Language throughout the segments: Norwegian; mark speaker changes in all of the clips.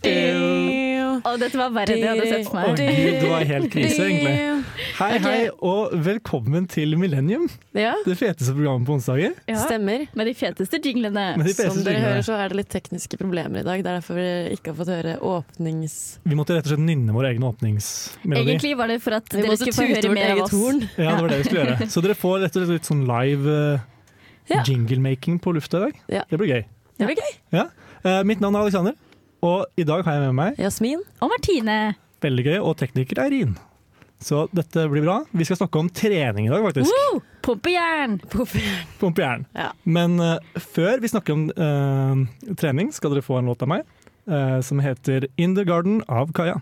Speaker 1: Å, dette var verre enn jeg hadde sett for
Speaker 2: Å
Speaker 1: meg.
Speaker 2: gud, det var helt krise, egentlig. Hei, hei, og velkommen til Millennium.
Speaker 3: Ja,
Speaker 2: Det feteste programmet på onsdager.
Speaker 1: Ja,
Speaker 3: stemmer.
Speaker 1: med de feteste jinglene.
Speaker 2: Med de
Speaker 3: Som
Speaker 2: feteste
Speaker 3: dere
Speaker 2: tingene.
Speaker 3: hører så er det litt tekniske problemer i dag. Det er derfor vi ikke har fått høre åpnings...
Speaker 2: Vi måtte rett og slett nynne vår egen åpningsmelodi.
Speaker 1: Egentlig var det for at
Speaker 3: Vi
Speaker 1: dere
Speaker 3: måtte
Speaker 1: skulle få
Speaker 3: tute
Speaker 1: høre
Speaker 3: vårt
Speaker 1: mer av
Speaker 3: eget
Speaker 1: oss.
Speaker 3: horn.
Speaker 2: Ja, det var det vi skulle gjøre. Så dere får rett og slett litt sånn live
Speaker 3: Ja.
Speaker 2: jingle jinglemaking på lufta i dag.
Speaker 3: Ja.
Speaker 2: Det blir gøy.
Speaker 3: Det blir gøy.
Speaker 2: Eh, mitt navn er Aleksander, og i dag har jeg med meg
Speaker 3: Jasmin.
Speaker 1: Og Martine.
Speaker 2: veldig gøy, og tekniker Eirin. Så dette blir bra. Vi skal snakke om trening i dag, faktisk.
Speaker 1: Woo! Pumpejern!
Speaker 2: Pumpe jern.
Speaker 3: Ja.
Speaker 2: Men eh, før vi snakker om eh, trening, skal dere få en låt av meg eh, som heter 'In the Garden' av Kaja.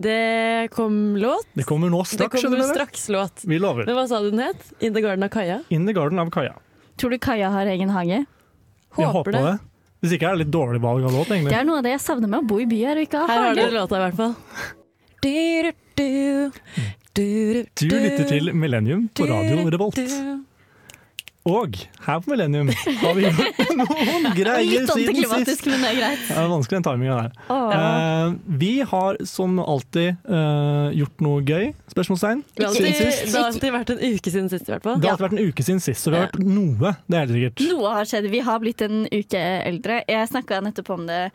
Speaker 3: Det kom låt.
Speaker 2: Det kommer nå
Speaker 3: Det
Speaker 2: straks,
Speaker 3: kommer
Speaker 2: skjønner dere.
Speaker 3: straks låt.
Speaker 2: Vi lover.
Speaker 3: Men hva sa du den het? In the Garden av Kaja?
Speaker 2: In the Garden av Kaja.
Speaker 1: Tror du Kaja har egen hage?
Speaker 2: Jeg
Speaker 3: Håper
Speaker 2: håper
Speaker 3: det.
Speaker 2: det. Hvis ikke er det litt dårlig valg av låt,
Speaker 1: Det
Speaker 2: egentlig.
Speaker 1: er noe av det jeg savner med å bo i by her og ikke ha
Speaker 3: Her har
Speaker 1: hage.
Speaker 3: dere låta, i hvert fall. Du, du, du, du,
Speaker 2: Du lytter til Millennium på Radio Revolt.
Speaker 3: du.
Speaker 2: Og her på Millennium har vi gjort noen greier
Speaker 1: Litt
Speaker 2: siden sist.
Speaker 1: antiklimatisk, men det er greit.
Speaker 2: Ja, Det er vanskelig den timinga der.
Speaker 1: Åh.
Speaker 2: Eh, vi har som alltid eh, gjort noe gøy? Spørsmålstegn?
Speaker 3: Det har
Speaker 2: Siden
Speaker 3: alltid,
Speaker 2: sist.
Speaker 3: det har alltid vært en uke siden sist, i hvert fall.
Speaker 2: Det har alltid vært en uke siden sist, så vi har
Speaker 3: Ja.
Speaker 2: vært noe. Det er helt sikkert.
Speaker 1: Noe har skjedd. Vi har blitt en uke eldre. Jeg snakka nettopp om det.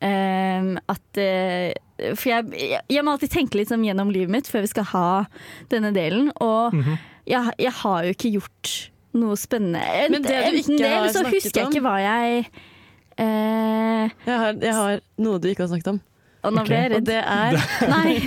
Speaker 1: ehm, at eh, For jeg, jeg, jeg må alltid tenke litt sånn gjennom livet mitt før vi skal ha denne delen. Og
Speaker 2: Mhm.
Speaker 1: jeg, jeg har jo ikke gjort noe spennende. Ent,
Speaker 3: Men det du ikke
Speaker 1: enten det, eller
Speaker 3: har
Speaker 1: så
Speaker 3: snakket
Speaker 1: husker jeg
Speaker 3: om-
Speaker 1: ikke hva jeg eh,
Speaker 3: Jeg har, jeg har noe du ikke har snakket om.
Speaker 1: Og nå
Speaker 2: Ok.
Speaker 1: ble jeg
Speaker 3: Og
Speaker 1: redd.
Speaker 3: det er
Speaker 1: Nei.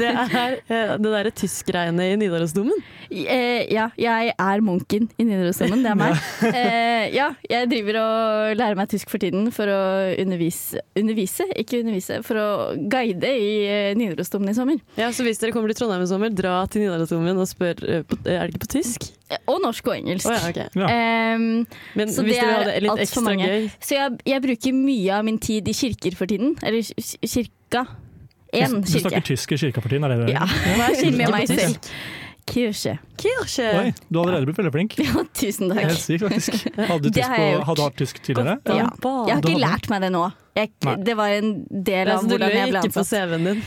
Speaker 3: Det er eh, det derre tyskgreiene i Nidarosdomen.
Speaker 1: Eh, ja, jeg er munken i Nidarosdomen. Det er meg. Eh, ja, jeg driver og lærer meg tysk for tiden for å undervise Undervise, ikke undervise. For å guide i eh, Nidarosdomen i sommer.
Speaker 3: Ja, så hvis dere kommer til Trondheim i sommer, dra til Nidarosdomen og spør eh, på, Er det ikke på tysk?
Speaker 1: Eh, Og norsk og engelsk.
Speaker 3: Å ja, ok.
Speaker 2: Ja.
Speaker 1: Ehm,
Speaker 3: Men
Speaker 1: Så
Speaker 3: hvis
Speaker 1: det
Speaker 3: dere vil ha
Speaker 1: er
Speaker 3: det litt
Speaker 1: alt for
Speaker 3: ekstra
Speaker 1: mange.
Speaker 3: gøy
Speaker 1: Så jeg, jeg bruker mye av min tid i kirker for tiden. Eller ki- kirka. Én
Speaker 2: Du snakker
Speaker 1: kirke.
Speaker 2: tysk i kirkepartiet, er det det?
Speaker 1: Ja,
Speaker 3: Hva er
Speaker 1: med
Speaker 3: kirken på
Speaker 1: meg selv.
Speaker 3: tysk?
Speaker 1: Kirke.
Speaker 3: Kirche!
Speaker 2: Oi, du har allerede blitt veldig flink.
Speaker 1: Ja, tusen
Speaker 2: Helt
Speaker 1: takk.
Speaker 2: sykt, faktisk. Hadde du,
Speaker 1: Det
Speaker 2: tysk
Speaker 1: har jeg
Speaker 2: på,
Speaker 1: gjort.
Speaker 2: hadde du hatt tysk tidligere?
Speaker 3: Da
Speaker 1: Ja.
Speaker 3: ba-
Speaker 1: Jeg har
Speaker 2: du
Speaker 1: ikke
Speaker 2: hadde-
Speaker 1: lært meg det nå. Jeg,
Speaker 2: Nei.
Speaker 1: det var en del
Speaker 3: Ja,
Speaker 1: av
Speaker 3: så Altså, du løy
Speaker 1: hvordan jeg ble
Speaker 3: ikke på
Speaker 1: ansatt.
Speaker 3: CV-en din.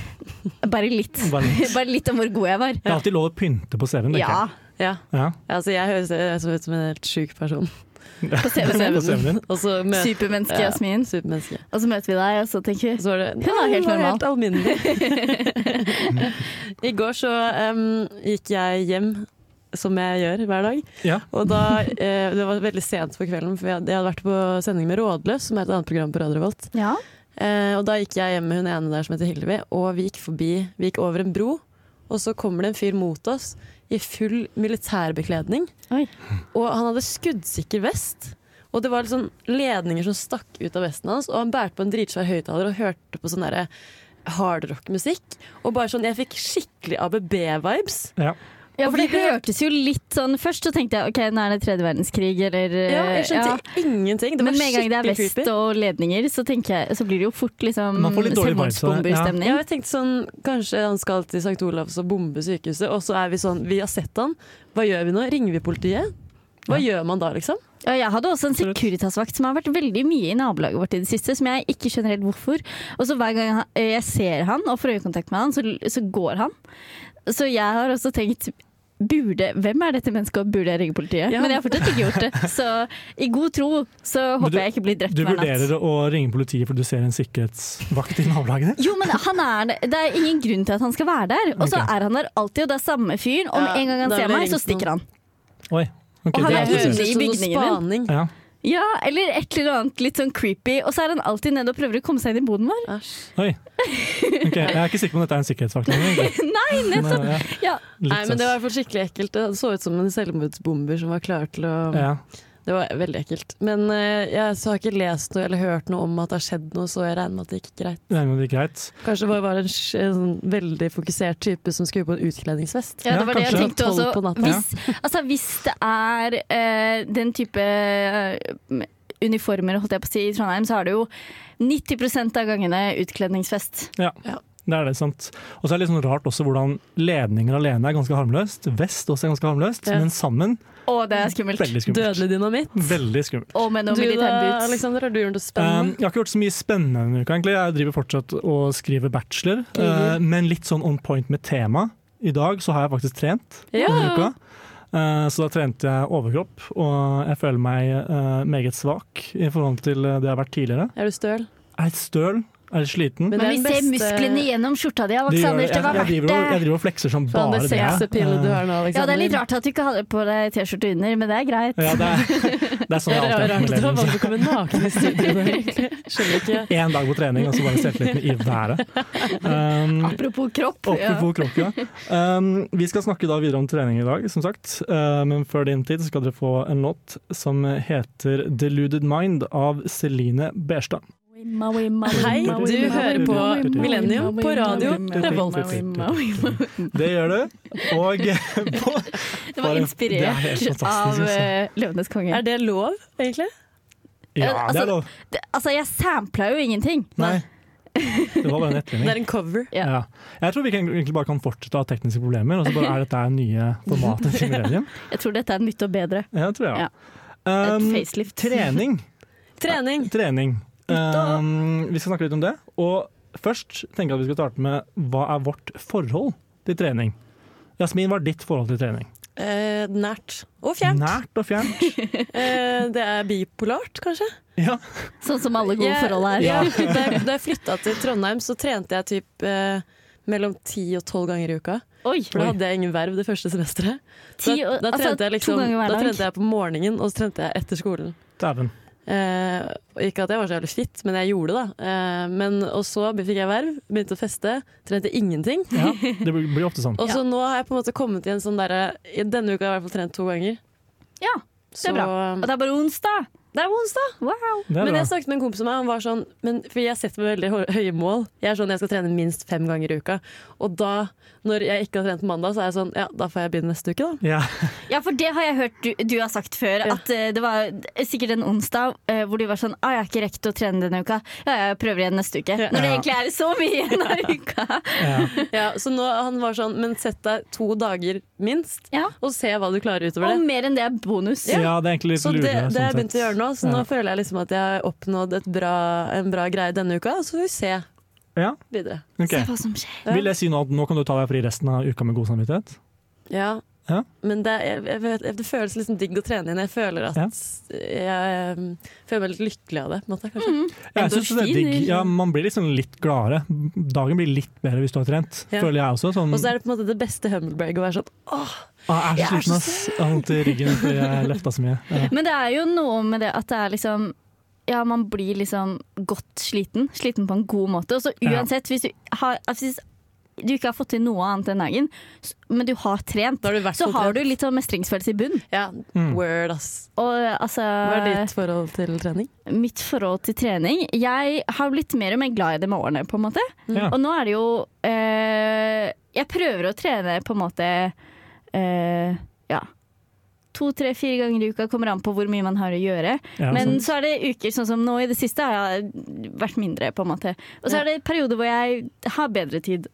Speaker 1: Bare litt.
Speaker 2: Bare litt.
Speaker 1: Bare litt om hvor god jeg var.
Speaker 2: Det er alltid lov å pynte på CV-en, tenker
Speaker 1: Ja,
Speaker 2: jeg.
Speaker 3: Ja,
Speaker 2: Ja.
Speaker 3: altså jeg høres jeg ser ut som en helt sjuk person.
Speaker 1: på CV-en.
Speaker 2: På CV-en din.
Speaker 3: Og så møter
Speaker 1: Supermenneske
Speaker 3: Ja.
Speaker 1: Jasmin.
Speaker 3: Supermenneske.
Speaker 1: Og så møter vi deg, og så tenker
Speaker 3: Og
Speaker 1: vi
Speaker 3: så var det
Speaker 1: Hun var
Speaker 3: Nei,
Speaker 1: helt normal.
Speaker 3: helt alminnelig. I går så em, gikk jeg hjem, som jeg gjør hver dag.
Speaker 2: Ja.
Speaker 3: Og da, eh, Det var veldig sent på kvelden, for jeg, jeg hadde vært på sending med Rådløs, som er et annet program på Radio Revolt.
Speaker 1: Ja.
Speaker 3: Eh, og da gikk jeg hjem med hun ene der som heter Hillevi, og vi gikk forbi, vi gikk over en bro. Og så kommer det en fyr mot oss i full militærbekledning.
Speaker 1: Oi.
Speaker 3: Og han hadde skuddsikker vest. Og det var liksom ledninger som stakk ut av vesten hans. Og han bærte på en dritsvær høyttaler og hørte på sånn derre hardrock-musikk. Og bare sånn, jeg fikk skikkelig ABB-vibes.
Speaker 2: Ja.
Speaker 1: ja, for det
Speaker 3: Og vi hørte-
Speaker 1: hørtes jo litt sånn Først så tenkte jeg ok, nå er det tredje verdenskrig, eller
Speaker 3: Ja, jeg skjønte
Speaker 1: Eh, ja.
Speaker 3: ingenting. Det var
Speaker 1: Men med en gang det er
Speaker 3: skikkelig
Speaker 1: vest
Speaker 3: creepy.
Speaker 1: og ledninger, så, tenker jeg, så blir det jo fort liksom
Speaker 2: Man får litt dårlig vibes av det, ja.
Speaker 3: Ja,
Speaker 1: selvmordsbomberstemning.
Speaker 3: jeg tenkte sånn, Kanskje han skal til St. Olavs og bombe sykehuset, og så er vi sånn Vi har sett han, hva gjør vi nå? Ringer vi politiet? Hva gjør man da, liksom?
Speaker 1: Ja, jeg hadde også en
Speaker 2: Absolutt.
Speaker 1: Securitas-vakt som har vært veldig mye i nabolaget vårt i det siste, som jeg ikke skjønner helt hvorfor. Og så hver gang han- jeg ser han og får øyekontakt med han, så, så går han. Så jeg har også tenkt Burde, hvem er dette mennesket, og burde jeg ringe politiet?
Speaker 3: Ja.
Speaker 1: Men jeg har fortsatt ikke gjort det. Så i god tro så håper
Speaker 2: du-
Speaker 1: jeg ikke blir drept
Speaker 2: Du
Speaker 1: hver natt.
Speaker 2: vurderer å ringe politiet fordi du ser en sikkerhetsvakt i nabolaget ditt?
Speaker 1: Jo, men han er, det er ingen grunn til at han skal være der. Og så
Speaker 2: Ok.
Speaker 1: er han der alltid, og det er samme fyren. Om
Speaker 3: Ja,
Speaker 1: en gang han
Speaker 3: da
Speaker 1: ser
Speaker 3: blir
Speaker 1: meg,
Speaker 3: det
Speaker 1: så
Speaker 3: ringt
Speaker 1: stikker han.
Speaker 2: Oi. ok,
Speaker 1: Og han
Speaker 2: det
Speaker 1: er
Speaker 2: er
Speaker 1: inne i
Speaker 2: spesielt.
Speaker 1: bygningen min.
Speaker 3: spaning.
Speaker 2: Ja.
Speaker 1: Ja, eller et eller annet litt sånn creepy. Og så er han alltid nede og prøver å komme seg inn i boden vår.
Speaker 3: Æsj.
Speaker 2: Oi. Ok, Jeg er ikke sikker på om dette er en sikkerhetsfaktor. egentlig.
Speaker 1: Nei,
Speaker 2: Men,
Speaker 1: nettopp!
Speaker 2: ja,
Speaker 1: Ja.
Speaker 2: litt sånn.
Speaker 3: Nei, men det var i hvert
Speaker 2: søs.
Speaker 3: fall skikkelig ekkelt. Det så ut som en selvmordsbomber som var klar til å
Speaker 2: ja.
Speaker 3: Det var veldig ekkelt. Men eh, jeg så har ikke lest noe eller hørt noe om at det har skjedd noe, så jeg regner med at det gikk greit.
Speaker 2: det er noe greit.
Speaker 3: Kanskje det bare var en, sj- en sånn veldig fokusert type som skulle på en utkledningsfest.
Speaker 1: Ja,
Speaker 2: Ja,
Speaker 1: det var det jeg
Speaker 2: kanskje.
Speaker 1: tenkte
Speaker 3: Tolv på
Speaker 1: også.
Speaker 3: natta.
Speaker 1: Hvis, altså, hvis det er eh, den type eh, uniformer holdt jeg på å si, i Trondheim, så er det jo 90 av gangene utkledningsfest.
Speaker 2: Det er det, sant. Og så er det litt sånn rart også hvordan ledninger alene er ganske harmløst. Vest også er ganske harmløst,
Speaker 3: Ja.
Speaker 2: men sammen
Speaker 1: Og det er skummelt.
Speaker 2: veldig skummelt.
Speaker 3: Dødelig dynamitt.
Speaker 2: Veldig skummelt.
Speaker 1: Og med
Speaker 3: Du
Speaker 1: noen
Speaker 3: da,
Speaker 1: militærboots.
Speaker 2: liksom
Speaker 3: Alexander, har du gjort noe
Speaker 2: Um,
Speaker 3: spennende?
Speaker 2: jeg har ikke gjort så mye spennende denne uka, egentlig. Jeg driver fortsatt og skriver bachelor, eh, men litt sånn on point med tema. I dag så har jeg faktisk trent denne uka. Eh, Så da trente jeg overkropp, og jeg føler meg eh, meget svak i forhold til eh, det jeg har vært tidligere.
Speaker 3: Er du støl?
Speaker 2: Jeg er litt støl, jeg er litt sliten.
Speaker 3: Men
Speaker 1: Men
Speaker 3: det er
Speaker 1: vi
Speaker 3: den
Speaker 1: ser
Speaker 3: beste-
Speaker 1: musklene gjennom skjorta di,
Speaker 2: Det gjør
Speaker 1: Alexander.
Speaker 2: det.
Speaker 1: Det var
Speaker 2: jeg, jeg,
Speaker 1: verdt
Speaker 2: driver og, jeg
Speaker 1: det.
Speaker 2: driver og flekser som
Speaker 3: Faen,
Speaker 2: bare
Speaker 3: det
Speaker 2: det.
Speaker 3: sexepillet du har nå, Alexander.
Speaker 1: Ja, det er litt rart at du ikke hadde på deg T-skjorte under, men det er greit.
Speaker 2: Eh, Ja, det er, det er
Speaker 3: Det
Speaker 2: sånn jeg
Speaker 3: er rart at du
Speaker 2: alltid har
Speaker 3: har
Speaker 2: hatt
Speaker 3: valgt å komme naken i studio. der, egentlig. Skjønner ikke.
Speaker 2: Én dag på trening, og så bare selvtilliten i været. Um,
Speaker 1: Apropos kropp. Ja.
Speaker 2: Apropos kropp, ja. Um, vi skal snakke da videre om trening i dag, som sagt. Uh, men før din tid så skal dere få en låt som heter 'Deluded Mind' av Celine Berstad.
Speaker 3: Hei, du hører på Millennium på radio
Speaker 1: Revolt.
Speaker 2: Det gjør du. Og på,
Speaker 1: Det var
Speaker 2: Det er helt
Speaker 1: inspirert
Speaker 2: fantastisk,
Speaker 1: av
Speaker 2: altså.
Speaker 1: eh, Løvenes konge.
Speaker 3: Er det lov, egentlig?
Speaker 2: Ja, det er lov.
Speaker 1: Det, altså, jeg sampla jo ingenting.
Speaker 2: Nei. Det var bare en
Speaker 3: Det
Speaker 2: nettvinning.
Speaker 3: er en cover.
Speaker 1: Ja.
Speaker 2: Ja. Jeg tror vi kan, egentlig bare kan fortsette å ha tekniske problemer, og så bare er dette her nye formatet til Millennium.
Speaker 1: Jeg tror dette er nytt og bedre.
Speaker 2: Ja, det tror jeg.
Speaker 1: Et
Speaker 2: Um,
Speaker 1: facelift.
Speaker 2: trening.
Speaker 3: Trening.
Speaker 2: Trening.
Speaker 1: Da-
Speaker 2: Um, vi skal snakke litt om det. Og først tenker jeg at vi skal starte med hva er vårt forhold til trening? Jasmin, hva er ditt forhold til trening?
Speaker 3: Eh, nært. Og fjernt.
Speaker 2: Nært og fjernt.
Speaker 3: Eh, det er bipolart, kanskje.
Speaker 2: Ja.
Speaker 1: Sånn som alle gode
Speaker 3: Jeg-
Speaker 1: forhold er.
Speaker 3: Ja, da jeg- da jeg flytta til Trondheim, så trente jeg typ eh, mellom ti og tolv ganger i uka.
Speaker 1: Oi!
Speaker 3: For da hadde jeg ingen verv det første semesteret. Da,
Speaker 1: Ti og-
Speaker 3: da,
Speaker 1: altså,
Speaker 3: trente jeg
Speaker 1: to
Speaker 3: liksom,
Speaker 1: ganger hver
Speaker 3: da
Speaker 1: dag.
Speaker 3: trente jeg på morgenen, og så trente jeg etter skolen.
Speaker 2: Dæven.
Speaker 3: Eh, og ikke at jeg var så jævlig fit, men jeg gjorde det, da. Eh, men, og så fikk jeg verv, begynte å feste, trente ingenting.
Speaker 2: Ja, det blir blir ofte sånn.
Speaker 3: Og så nå har jeg på en måte kommet i en sånn derre i Denne uka har jeg i hvert fall trent to ganger.
Speaker 1: Ja, det
Speaker 3: Så-
Speaker 1: er bra. Og det er bare onsdag!
Speaker 3: Det er onsdag!
Speaker 1: Wow!
Speaker 2: Det er
Speaker 3: Men
Speaker 2: bra.
Speaker 3: jeg snakket med en kompis av meg, han var sånn men, For jeg setter meg veldig hå- høye mål. Jeg er sånn, jeg skal trene minst fem ganger i uka. Og da, når jeg ikke har trent mandag, så er jeg sånn Ja, da får jeg begynne neste uke, da.
Speaker 2: Ja.
Speaker 1: Ja, for det har jeg hørt du, du har sagt før.
Speaker 3: Ja.
Speaker 1: At eh, det var sikkert en onsdag eh, hvor du var sånn ah, 'Jeg har ikke rekt å trene denne uka. Ja, jeg prøver igjen neste uke.' Når det
Speaker 2: Ja.
Speaker 1: egentlig er så mye igjen av uka.
Speaker 2: Ja.
Speaker 3: Ja, så nå, han var sånn Men sett deg to dager minst,
Speaker 1: Ja.
Speaker 3: og se hva du klarer utover
Speaker 1: Og
Speaker 3: det.
Speaker 1: mer enn det er bonus.
Speaker 2: ja, det er egentlig litt
Speaker 3: Så det, det
Speaker 2: lurere,
Speaker 3: har jeg
Speaker 2: sånn
Speaker 3: begynt å
Speaker 2: sett.
Speaker 3: gjøre nå, så nå
Speaker 2: Ja.
Speaker 3: føler jeg liksom at jeg har oppnådd et bra, en bra greie denne uka, og så får vi se
Speaker 2: Ja,
Speaker 3: videre.
Speaker 2: ok.
Speaker 1: Se hva som skjer.
Speaker 3: Ja.
Speaker 2: Vil det si nå at nå kan du ta deg fri resten av uka med god samvittighet?
Speaker 3: Ja.
Speaker 2: Ja.
Speaker 3: Men det, er- jeg, jeg, vet- det føles liksom digg å trene igjen. Jeg føler at
Speaker 2: Ja.
Speaker 3: jeg um, føler meg litt lykkelig av det. På en måte, kanskje.
Speaker 2: Ja, jeg synes det er
Speaker 1: Endorfiner.
Speaker 2: digg. Ja, man blir liksom litt gladere. Dagen blir litt bedre hvis du har trent,
Speaker 3: Ja.
Speaker 2: føler jeg også. Sånn,
Speaker 3: Og så er det på en måte det beste humblebrag å være sånn åh,
Speaker 2: ah, jeg
Speaker 3: Jeg er
Speaker 2: er så sliten,
Speaker 3: så
Speaker 2: ass. Jeg har vondt i ryggen fordi jeg løfta så mye. Ja.
Speaker 1: Men det er jo noe med det at det er liksom ja, man blir liksom godt sliten. Sliten på en god måte. Og så
Speaker 2: Ja.
Speaker 1: uansett, hvis du, har, altså, hvis du ikke har fått til noe annet den dagen, s- men du har trent,
Speaker 3: Da har du i hvert
Speaker 1: så
Speaker 3: fall
Speaker 1: har
Speaker 3: trent.
Speaker 1: du litt sånn mestringsfølelse i bunn.
Speaker 3: Ja,
Speaker 2: Mm.
Speaker 3: word, ass.
Speaker 1: Og altså
Speaker 3: Hva er ditt forhold til trening?
Speaker 1: Mitt forhold til trening Jeg har blitt mer og mer glad i det med årene, på en måte.
Speaker 2: Ja.
Speaker 1: Og nå er det jo eh, Jeg prøver å trene på en måte eh, Ja. To, tre, fire ganger i uka kommer an på hvor mye man har å gjøre.
Speaker 2: Ja,
Speaker 1: Men
Speaker 2: sånn.
Speaker 1: så er det uker sånn som nå i det siste har jeg vært mindre, på en måte. Og så
Speaker 3: Ja.
Speaker 1: er det perioder hvor jeg har bedre tid.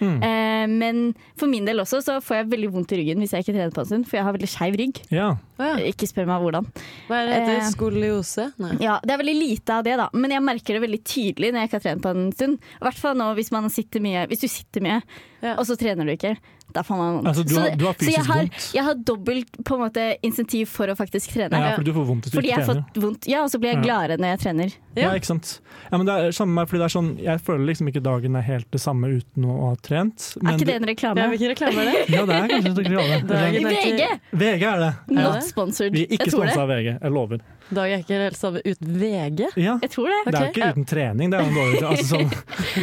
Speaker 2: Mm.
Speaker 1: Eh, men for min del også så får jeg veldig vondt i ryggen hvis jeg ikke trener på en stund, for jeg har veldig skeiv rygg.
Speaker 2: ja.
Speaker 1: Ikke spør meg hvordan.
Speaker 3: Hva er det heter
Speaker 1: Eh.
Speaker 3: Skoliose? Nei.
Speaker 1: Ja, Det er veldig lite av det, da, men jeg merker det veldig tydelig når jeg ikke har trent på en stund. I hvert fall nå hvis man sitter mye Hvis du sitter mye,
Speaker 3: Ja.
Speaker 1: og så trener du ikke. Det er faen meg vondt.
Speaker 2: Altså, du har-
Speaker 1: så,
Speaker 2: du har
Speaker 1: så jeg
Speaker 2: fysisk
Speaker 1: har,
Speaker 2: vondt.
Speaker 1: jeg har dobbelt på en måte, insentiv for å faktisk trene.
Speaker 2: Ja, fordi du får vondt hvis du
Speaker 1: Fordi
Speaker 2: ikke
Speaker 1: jeg har
Speaker 2: trener.
Speaker 1: fått vondt. Ja, og så blir
Speaker 2: Ja.
Speaker 1: jeg gladere når jeg trener.
Speaker 2: Ja. ikke sant. Ja, men det er samme med meg, fordi det er sånn, jeg føler liksom ikke dagen er helt det samme uten å ha trent.
Speaker 1: Er
Speaker 2: men
Speaker 1: ikke det en reklame?
Speaker 3: Ja, hvilken reklame er det?
Speaker 2: Ja, det er kanskje et reklame.
Speaker 3: Dagen er
Speaker 1: VG!
Speaker 3: ikke,
Speaker 2: VG er det.
Speaker 1: Not
Speaker 3: det?
Speaker 1: sponsored.
Speaker 2: Vi er ikke
Speaker 1: jeg tror
Speaker 2: sponsa
Speaker 1: det.
Speaker 2: av VG, jeg lover.
Speaker 3: dag er ikke helt sammen uten VG.
Speaker 2: Ja.
Speaker 1: Jeg tror det.
Speaker 2: Det er jo
Speaker 3: Ok,
Speaker 2: ikke
Speaker 3: ja.
Speaker 2: uten trening, det er jo en dårlig altså, sånn,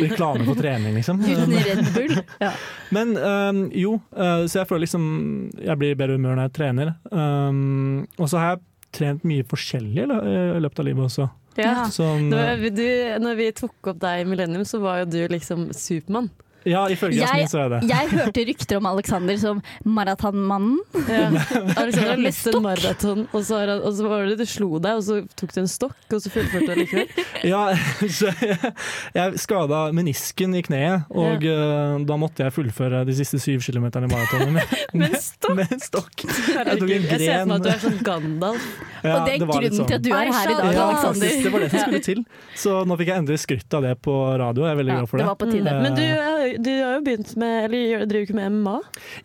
Speaker 2: reklame for trening, liksom.
Speaker 1: Uten Red Bull. Ja.
Speaker 2: Men øhm, jo, øh, så jeg føler liksom jeg blir i bedre humør når jeg trener. Øhm, og så har jeg trent mye forskjellig i lø- i løpet av livet også.
Speaker 1: Ja.
Speaker 2: Sånn, øh,
Speaker 3: Når, du, når vi tok opp deg i Millennium, så var jo du liksom Supermann.
Speaker 2: ja, ifølge
Speaker 1: Jeg-
Speaker 2: Jasmin så er jeg det.
Speaker 1: Jeg hørte rykter om Alexander som maratonmannen.
Speaker 3: Ja. Alexander har
Speaker 1: Med
Speaker 3: løpt en maraton, og, så har han- og så var det du slo deg, og så tok du en stokk, og så fullførte du likevel.
Speaker 2: Ja, så jeg, jeg skada menisken i kneet, og øh, da måtte jeg fullføre de siste syv kilometerne i maratonen med,
Speaker 3: Men stokk!
Speaker 2: med en stokk. Jeg tok en
Speaker 3: Herregud, jeg ser for meg at du er sånn Gandalf.
Speaker 2: Ja,
Speaker 1: og det er
Speaker 2: var litt
Speaker 1: grunnen
Speaker 2: sånn.
Speaker 1: til at du er her i dag,
Speaker 2: Ja,
Speaker 1: Alexander.
Speaker 2: faktisk, det var det som skulle til. Så nå fikk jeg endelig skrytt av det på radio. Jeg er veldig
Speaker 1: Ja,
Speaker 2: glad for
Speaker 1: det
Speaker 2: det.
Speaker 1: var på tide.
Speaker 3: Mm. Men du, er- du har jo begynt med Eller gjør- driver ikke med MMA?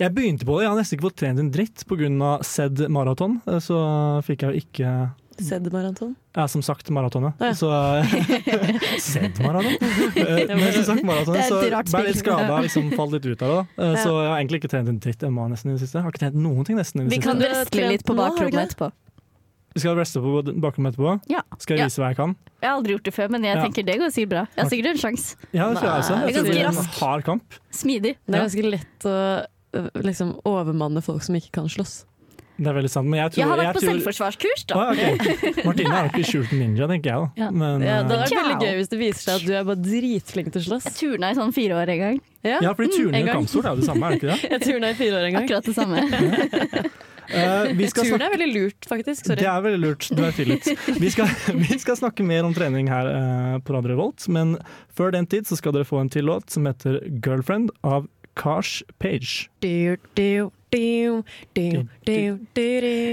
Speaker 2: Jeg begynte på det, jeg har nesten ikke fått trent en dritt pga. sedd maraton. eh, Så fikk jeg jo ikke
Speaker 3: Sedd maraton?
Speaker 2: ja, som sagt maratonet.
Speaker 3: Ja.
Speaker 2: Så Sedd maraton? Eh, Men som sagt
Speaker 1: Det
Speaker 2: maratonet,
Speaker 1: er
Speaker 2: så
Speaker 1: et
Speaker 2: ble
Speaker 1: rart
Speaker 2: jeg litt
Speaker 1: spill.
Speaker 2: skada og liksom falt litt ut av det. da. Eh,
Speaker 3: Ja.
Speaker 2: Så jeg har egentlig ikke trent en dritt MMA nesten i det siste. Jeg har ikke trent noen ting nesten i
Speaker 1: Vi
Speaker 2: det
Speaker 1: kan
Speaker 2: siste.
Speaker 3: Du har
Speaker 1: wrestle litt på
Speaker 3: trent nå, har du
Speaker 1: bakrommet
Speaker 3: ikke
Speaker 1: etterpå.
Speaker 2: Vi skal reste på bakrommet etterpå.
Speaker 1: Ja.
Speaker 2: Skal
Speaker 1: Ja.
Speaker 2: jeg vise hva jeg kan?
Speaker 1: Jeg har aldri gjort det før, men jeg
Speaker 2: Ja.
Speaker 1: tenker det går sikkert bra. Jeg har sikkert en sjanse.
Speaker 2: Ja, det tror jeg også.
Speaker 3: Nei,
Speaker 2: Jeg tror
Speaker 1: det er
Speaker 2: det blir en
Speaker 1: ganske
Speaker 2: hard kamp.
Speaker 1: Smidig.
Speaker 3: Det er
Speaker 2: Ja.
Speaker 3: ganske lett å øh, liksom overmanne folk som ikke kan slåss.
Speaker 2: Det er veldig sant. Men jeg tror
Speaker 1: Jeg har vært på
Speaker 2: jeg tror,
Speaker 1: selvforsvarskurs, da.
Speaker 2: Ah, ok. Martine er jo ikke skjult ninja, tenker jeg. da.
Speaker 1: Ja.
Speaker 2: Men,
Speaker 3: Ja, det hadde
Speaker 2: eh,
Speaker 3: vært veldig
Speaker 1: Ciao.
Speaker 3: gøy hvis det viser seg at du er bare dritflink til å
Speaker 1: Jeg
Speaker 3: slåss.
Speaker 1: turna i sånn fire år en gang.
Speaker 3: Ja,
Speaker 2: ja,
Speaker 1: Mm,
Speaker 2: fordi
Speaker 3: en
Speaker 2: turning og
Speaker 3: gang.
Speaker 2: kampsport er jo det samme, er det ikke det?
Speaker 3: Jeg turna i fire år en gang.
Speaker 1: Akkurat det samme.
Speaker 2: Eh, vi skal
Speaker 3: Turn
Speaker 2: snakke,
Speaker 3: er veldig lurt, faktisk.
Speaker 2: det
Speaker 3: Sorry.
Speaker 2: er veldig lurt. Du er tilgitt. Vi, skal- vi skal snakke mer om trening her eh, på Radio Revolt, men før den tid så skal dere få en til låt som heter 'Girlfriend' av Kars Page.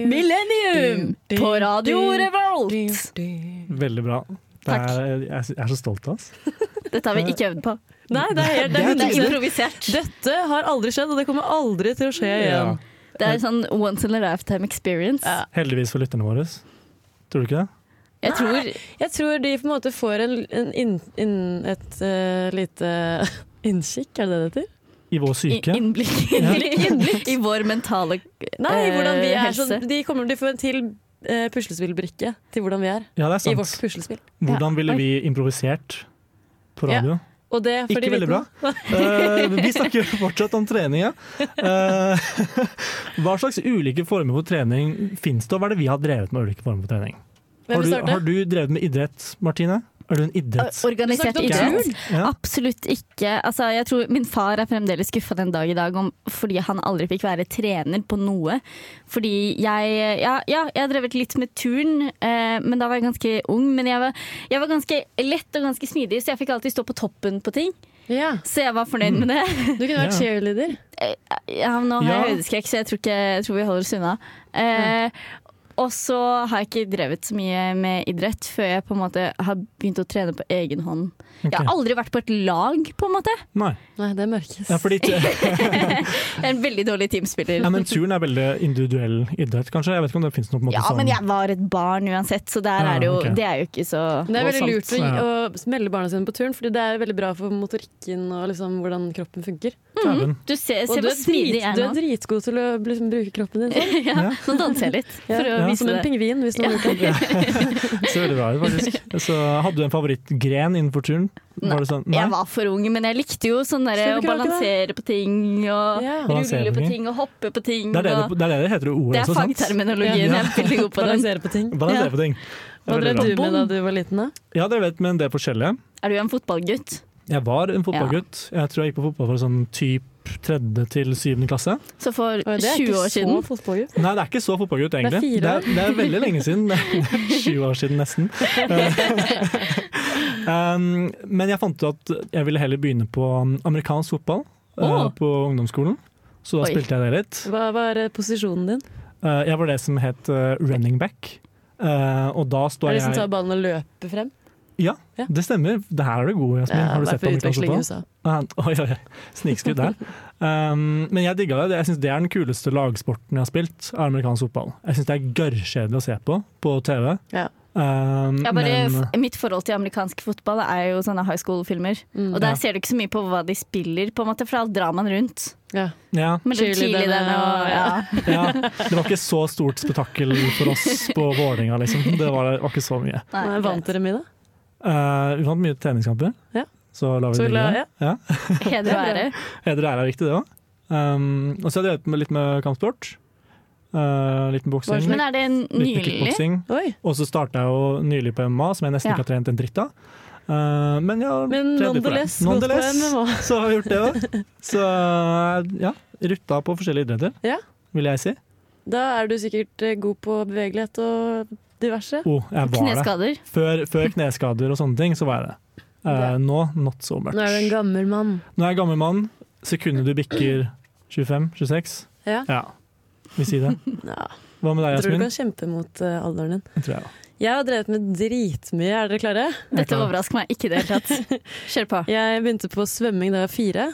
Speaker 1: Millennium på Radio Revolt!
Speaker 2: Veldig bra. Det er, jeg er- jeg er så stolt av oss.
Speaker 1: Dette har vi ikke øvd på.
Speaker 3: Nei, det er helt det
Speaker 1: Det
Speaker 3: er
Speaker 1: er
Speaker 3: helt utrolig.
Speaker 1: improvisert.
Speaker 3: Dette har aldri skjedd, og det kommer aldri til å skje igjen.
Speaker 2: Ja.
Speaker 1: Det er sånn once in a lifetime experience.
Speaker 3: Ja.
Speaker 2: Heldigvis for lytterne våre. Tror du ikke det?
Speaker 1: Jeg tror
Speaker 3: Jeg tror de på en måte får en, en inn, inn, et eh, lite innkikk, er det det det heter?
Speaker 2: I vår syke.
Speaker 1: i- innblikk, innblikk i vår mentale
Speaker 3: Nei,
Speaker 1: eh,
Speaker 3: hvordan vi er
Speaker 1: helse.
Speaker 3: sånn. De kommer til å få en til eh, puslespillbrikke til hvordan vi er
Speaker 2: Ja, det er
Speaker 3: i vårt
Speaker 2: sant.
Speaker 3: puslespill.
Speaker 2: Hvordan ville vi improvisert på
Speaker 3: Ja.
Speaker 2: radio?
Speaker 3: Og det får
Speaker 2: Ikke
Speaker 3: de vite
Speaker 2: veldig bra.
Speaker 3: nå.
Speaker 2: Eh, vi snakker jo fortsatt om trening, ja. Eh, hva slags ulike former for trening fins det, og hva er det vi har drevet med ulike former for trening?
Speaker 3: Hvem
Speaker 2: Har
Speaker 3: vil
Speaker 2: du,
Speaker 3: starte?
Speaker 2: har du drevet med idrett, Martine? Er du en idretts...
Speaker 1: Organisert
Speaker 3: Du snakket om
Speaker 1: idrett?
Speaker 2: Ja.
Speaker 1: Absolutt ikke. Altså, jeg tror Min far er fremdeles skuffa den dag i dag om, fordi han aldri fikk være trener på noe. Fordi jeg Ja, ja jeg har drevet litt med turn, eh, men da var jeg ganske ung. Men jeg var, jeg var ganske lett og ganske smidig, så jeg fikk alltid stå på toppen på ting.
Speaker 3: Ja,
Speaker 1: Så jeg var fornøyd med det.
Speaker 3: du kunne vært
Speaker 2: Ja.
Speaker 3: cheerleader.
Speaker 1: Eh, Ja, men nå har
Speaker 2: Ja.
Speaker 1: jeg høydeskrekk, så jeg tror, ikke, jeg tror vi holder oss unna. Eh, Og så har jeg ikke drevet så mye med idrett før jeg på en måte har begynt å trene på egen hånd. Jeg har
Speaker 2: Ok.
Speaker 1: aldri vært på et lag, på en måte.
Speaker 2: Nei.
Speaker 3: Nei, det mørkes.
Speaker 2: Ja, fordi, ja,
Speaker 1: Jeg er en veldig dårlig teamspiller.
Speaker 2: men turn er veldig individuell idrett, kanskje? Jeg vet ikke om det fins noe på en måte
Speaker 1: Ja,
Speaker 2: sånn
Speaker 1: men jeg var et barn uansett, så der
Speaker 2: Ja,
Speaker 1: er det jo,
Speaker 2: ok.
Speaker 1: det er jo ikke så
Speaker 3: Det er veldig lurt å,
Speaker 2: Ja.
Speaker 3: å melde barna sine på turn, fordi det er veldig bra for motorikken og liksom hvordan kroppen funker.
Speaker 2: Dæven.
Speaker 1: Du ser,
Speaker 3: Og
Speaker 1: ser
Speaker 3: du
Speaker 1: hvor
Speaker 3: er,
Speaker 1: smidig
Speaker 3: drit,
Speaker 1: jeg
Speaker 3: du
Speaker 1: er
Speaker 3: er
Speaker 1: nå.
Speaker 3: dritgod til å liksom, bruke kroppen din. Sånn.
Speaker 1: Ja, nå danser jeg litt, for å
Speaker 2: Ja.
Speaker 1: vise
Speaker 3: Som en
Speaker 1: det.
Speaker 3: pingvin, hvis noen har gjort det.
Speaker 2: Det ser veldig bra ut, faktisk. Så hadde du en favorittgren innenfor turn? Var det sånn?
Speaker 1: Jeg var for ung, men jeg likte jo sånn derre
Speaker 3: Skytekrake,
Speaker 1: å
Speaker 3: da.
Speaker 1: balansere på ting, og
Speaker 3: Ja.
Speaker 2: Balansere
Speaker 1: rulle på
Speaker 2: på ting.
Speaker 1: ting, og hoppe på ting.
Speaker 2: Det er det
Speaker 1: og-
Speaker 2: det, det, er det det heter i ordet
Speaker 1: Det er
Speaker 2: også, sant?
Speaker 1: fagterminologien.
Speaker 2: Ja.
Speaker 1: Jeg er veldig god på den.
Speaker 3: Balansere på ting.
Speaker 2: Balansere
Speaker 3: Ja.
Speaker 2: på ting. Det
Speaker 3: Hva
Speaker 2: er
Speaker 3: drev
Speaker 2: veldig bra.
Speaker 3: du med da du var liten? da?
Speaker 2: Ja, dere vet, men det er forskjellige.
Speaker 1: Er du en fotballgutt?
Speaker 2: Jeg var en fotballgutt. Jeg tror jeg gikk på fotball fra sånn typ tredje til syvende klasse.
Speaker 1: Så for
Speaker 3: Oi, Det er
Speaker 1: 20 år
Speaker 3: ikke
Speaker 1: siden
Speaker 3: så fotballgutt.
Speaker 2: Nei, det er ikke så fotballgutt,
Speaker 3: er
Speaker 2: egentlig.
Speaker 3: fire år.
Speaker 2: det, er, det er veldig lenge siden. Det er Sju år siden, nesten. um, men jeg fant ut at jeg ville heller begynne på amerikansk fotball
Speaker 1: Åh.
Speaker 2: uh, på ungdomsskolen. Så da
Speaker 1: Oi.
Speaker 2: spilte jeg det litt.
Speaker 3: Hva var eh, posisjonen din?
Speaker 2: Uh, jeg var det som het uh, running back. Uh, og da
Speaker 3: Er
Speaker 2: står
Speaker 3: det de som
Speaker 2: jeg
Speaker 3: tar ballen og løper frem?
Speaker 2: Ja,
Speaker 3: Ja.
Speaker 2: det stemmer. Det her er du god, Jasmin. Har du sett på amerikansk
Speaker 3: utveksling altså. i
Speaker 2: fotball?
Speaker 3: USA?
Speaker 2: Ah, Oi, oi, oi. Snikskudd der. Um, men jeg digga det. Jeg synes Det er den kuleste lagsporten jeg har spilt, er amerikansk fotball. Jeg syns det er gørrkjedelig å se på på TV.
Speaker 3: Ja.
Speaker 2: Um,
Speaker 1: Ja, bare,
Speaker 2: men,
Speaker 1: f- mitt forhold til amerikansk fotball er jo sånne high school-filmer. Og der
Speaker 2: Ja.
Speaker 1: ser du ikke så mye på hva de spiller, på en måte, for da drar man rundt.
Speaker 3: Ja.
Speaker 2: ja,
Speaker 1: Mellom
Speaker 3: Cheerleaderne
Speaker 1: cheerleaderne og ja.
Speaker 2: ja, det var ikke så stort spetakkel for oss på Vålerenga, liksom. Det var, det var ikke så mye.
Speaker 1: Nei,
Speaker 3: Men Vant dere mye, da?
Speaker 2: Eh, vi vant mye treningskamper,
Speaker 3: Ja.
Speaker 2: så la vi
Speaker 3: Så
Speaker 2: det
Speaker 3: la-
Speaker 2: ligge. Ja.
Speaker 1: Heder og ære.
Speaker 2: Heder og ære er viktig, det òg. Um, og så har jeg drevet med litt med kampsport. Eh, litt med boksing. Litt
Speaker 1: Men er det
Speaker 2: med
Speaker 1: nylig?
Speaker 2: kickboksing.
Speaker 3: Oi.
Speaker 2: Og så starta jeg jo nylig på MMA, som jeg nesten
Speaker 1: Ja.
Speaker 2: ikke har trent en dritt av. Eh, men jeg har
Speaker 3: Men
Speaker 2: trent litt på det.
Speaker 3: nonetheless, gått på MMA.
Speaker 2: så har jeg gjort det òg. Så eh, ja, rutta på forskjellige idretter,
Speaker 3: Ja.
Speaker 2: vil jeg si.
Speaker 3: Da er du sikkert eh, god på bevegelighet og diverse.
Speaker 2: Oh, jeg var det.
Speaker 1: Kneskader?
Speaker 2: Før, før kneskader og sånne ting, så var jeg det. Eh,
Speaker 3: Ja.
Speaker 2: Nå, not so much.
Speaker 3: Nå er du en gammel mann.
Speaker 2: Nå er jeg gammel mann. Sekundet du bikker 25-26
Speaker 3: Ja.
Speaker 2: Ja, vi sier det.
Speaker 3: Ja.
Speaker 2: Hva med deg,
Speaker 3: Jeg tror du
Speaker 2: Jasmin?
Speaker 3: kan kjempe mot eh, alderen din.
Speaker 2: Det tror jeg også.
Speaker 3: Jeg har drevet med dritmye, er dere klare?
Speaker 1: Dette
Speaker 2: klar.
Speaker 1: overrasker meg ikke i det hele tatt. Kjør på.
Speaker 3: Jeg begynte på svømming da jeg var fire.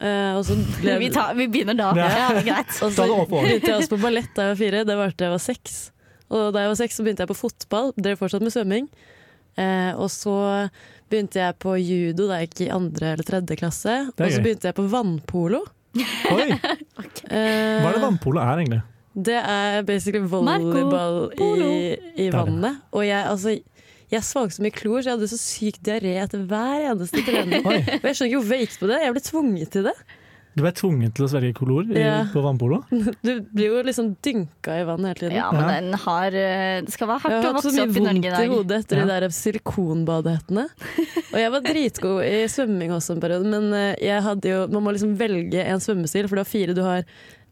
Speaker 3: eh, og så ble
Speaker 1: Vi, tar, vi begynner da.
Speaker 2: Ja.
Speaker 1: Ja, greit.
Speaker 3: Og
Speaker 2: Ta
Speaker 3: så
Speaker 2: det opp over.
Speaker 3: begynte jeg også på ballett da jeg var fire. Det varte til jeg var seks. Og da jeg var seks, så begynte jeg på fotball. Drev fortsatt med svømming. Eh, og så begynte jeg på judo da jeg gikk i andre eller tredje klasse.
Speaker 2: Det er
Speaker 3: Og så
Speaker 2: gøy.
Speaker 3: begynte jeg på vannpolo.
Speaker 2: Oi!
Speaker 3: Eh,
Speaker 2: Hva er det vannpolo er, egentlig?
Speaker 3: Det er basically volleyball
Speaker 1: Polo.
Speaker 3: i, i
Speaker 2: Der, ja.
Speaker 3: vannet. Og jeg, altså, jeg svang så mye klor, så jeg hadde så syk diaré etter hver eneste trening.
Speaker 2: Oi,
Speaker 3: Og jeg skjønner ikke hvorfor jeg gikk på det. Jeg ble tvunget til det.
Speaker 2: Du ble tvunget til å svelge kolor i,
Speaker 3: Ja.
Speaker 2: på vannpolo?
Speaker 3: Du blir jo liksom dynka i vannet hele tiden.
Speaker 1: Ja, men den har eh, Det skal være
Speaker 3: Jeg
Speaker 1: hardt
Speaker 3: har
Speaker 1: å
Speaker 3: hatt så
Speaker 1: vokse
Speaker 3: mye
Speaker 1: opp i Norge
Speaker 3: vondt
Speaker 1: i
Speaker 3: i
Speaker 1: dag.
Speaker 3: hodet etter
Speaker 2: Ja.
Speaker 3: de der silikonbadehettene. Og jeg var dritgod i svømming også en periode, men eh, jeg hadde jo, man må liksom velge en svømmestil, for du har fire. Du har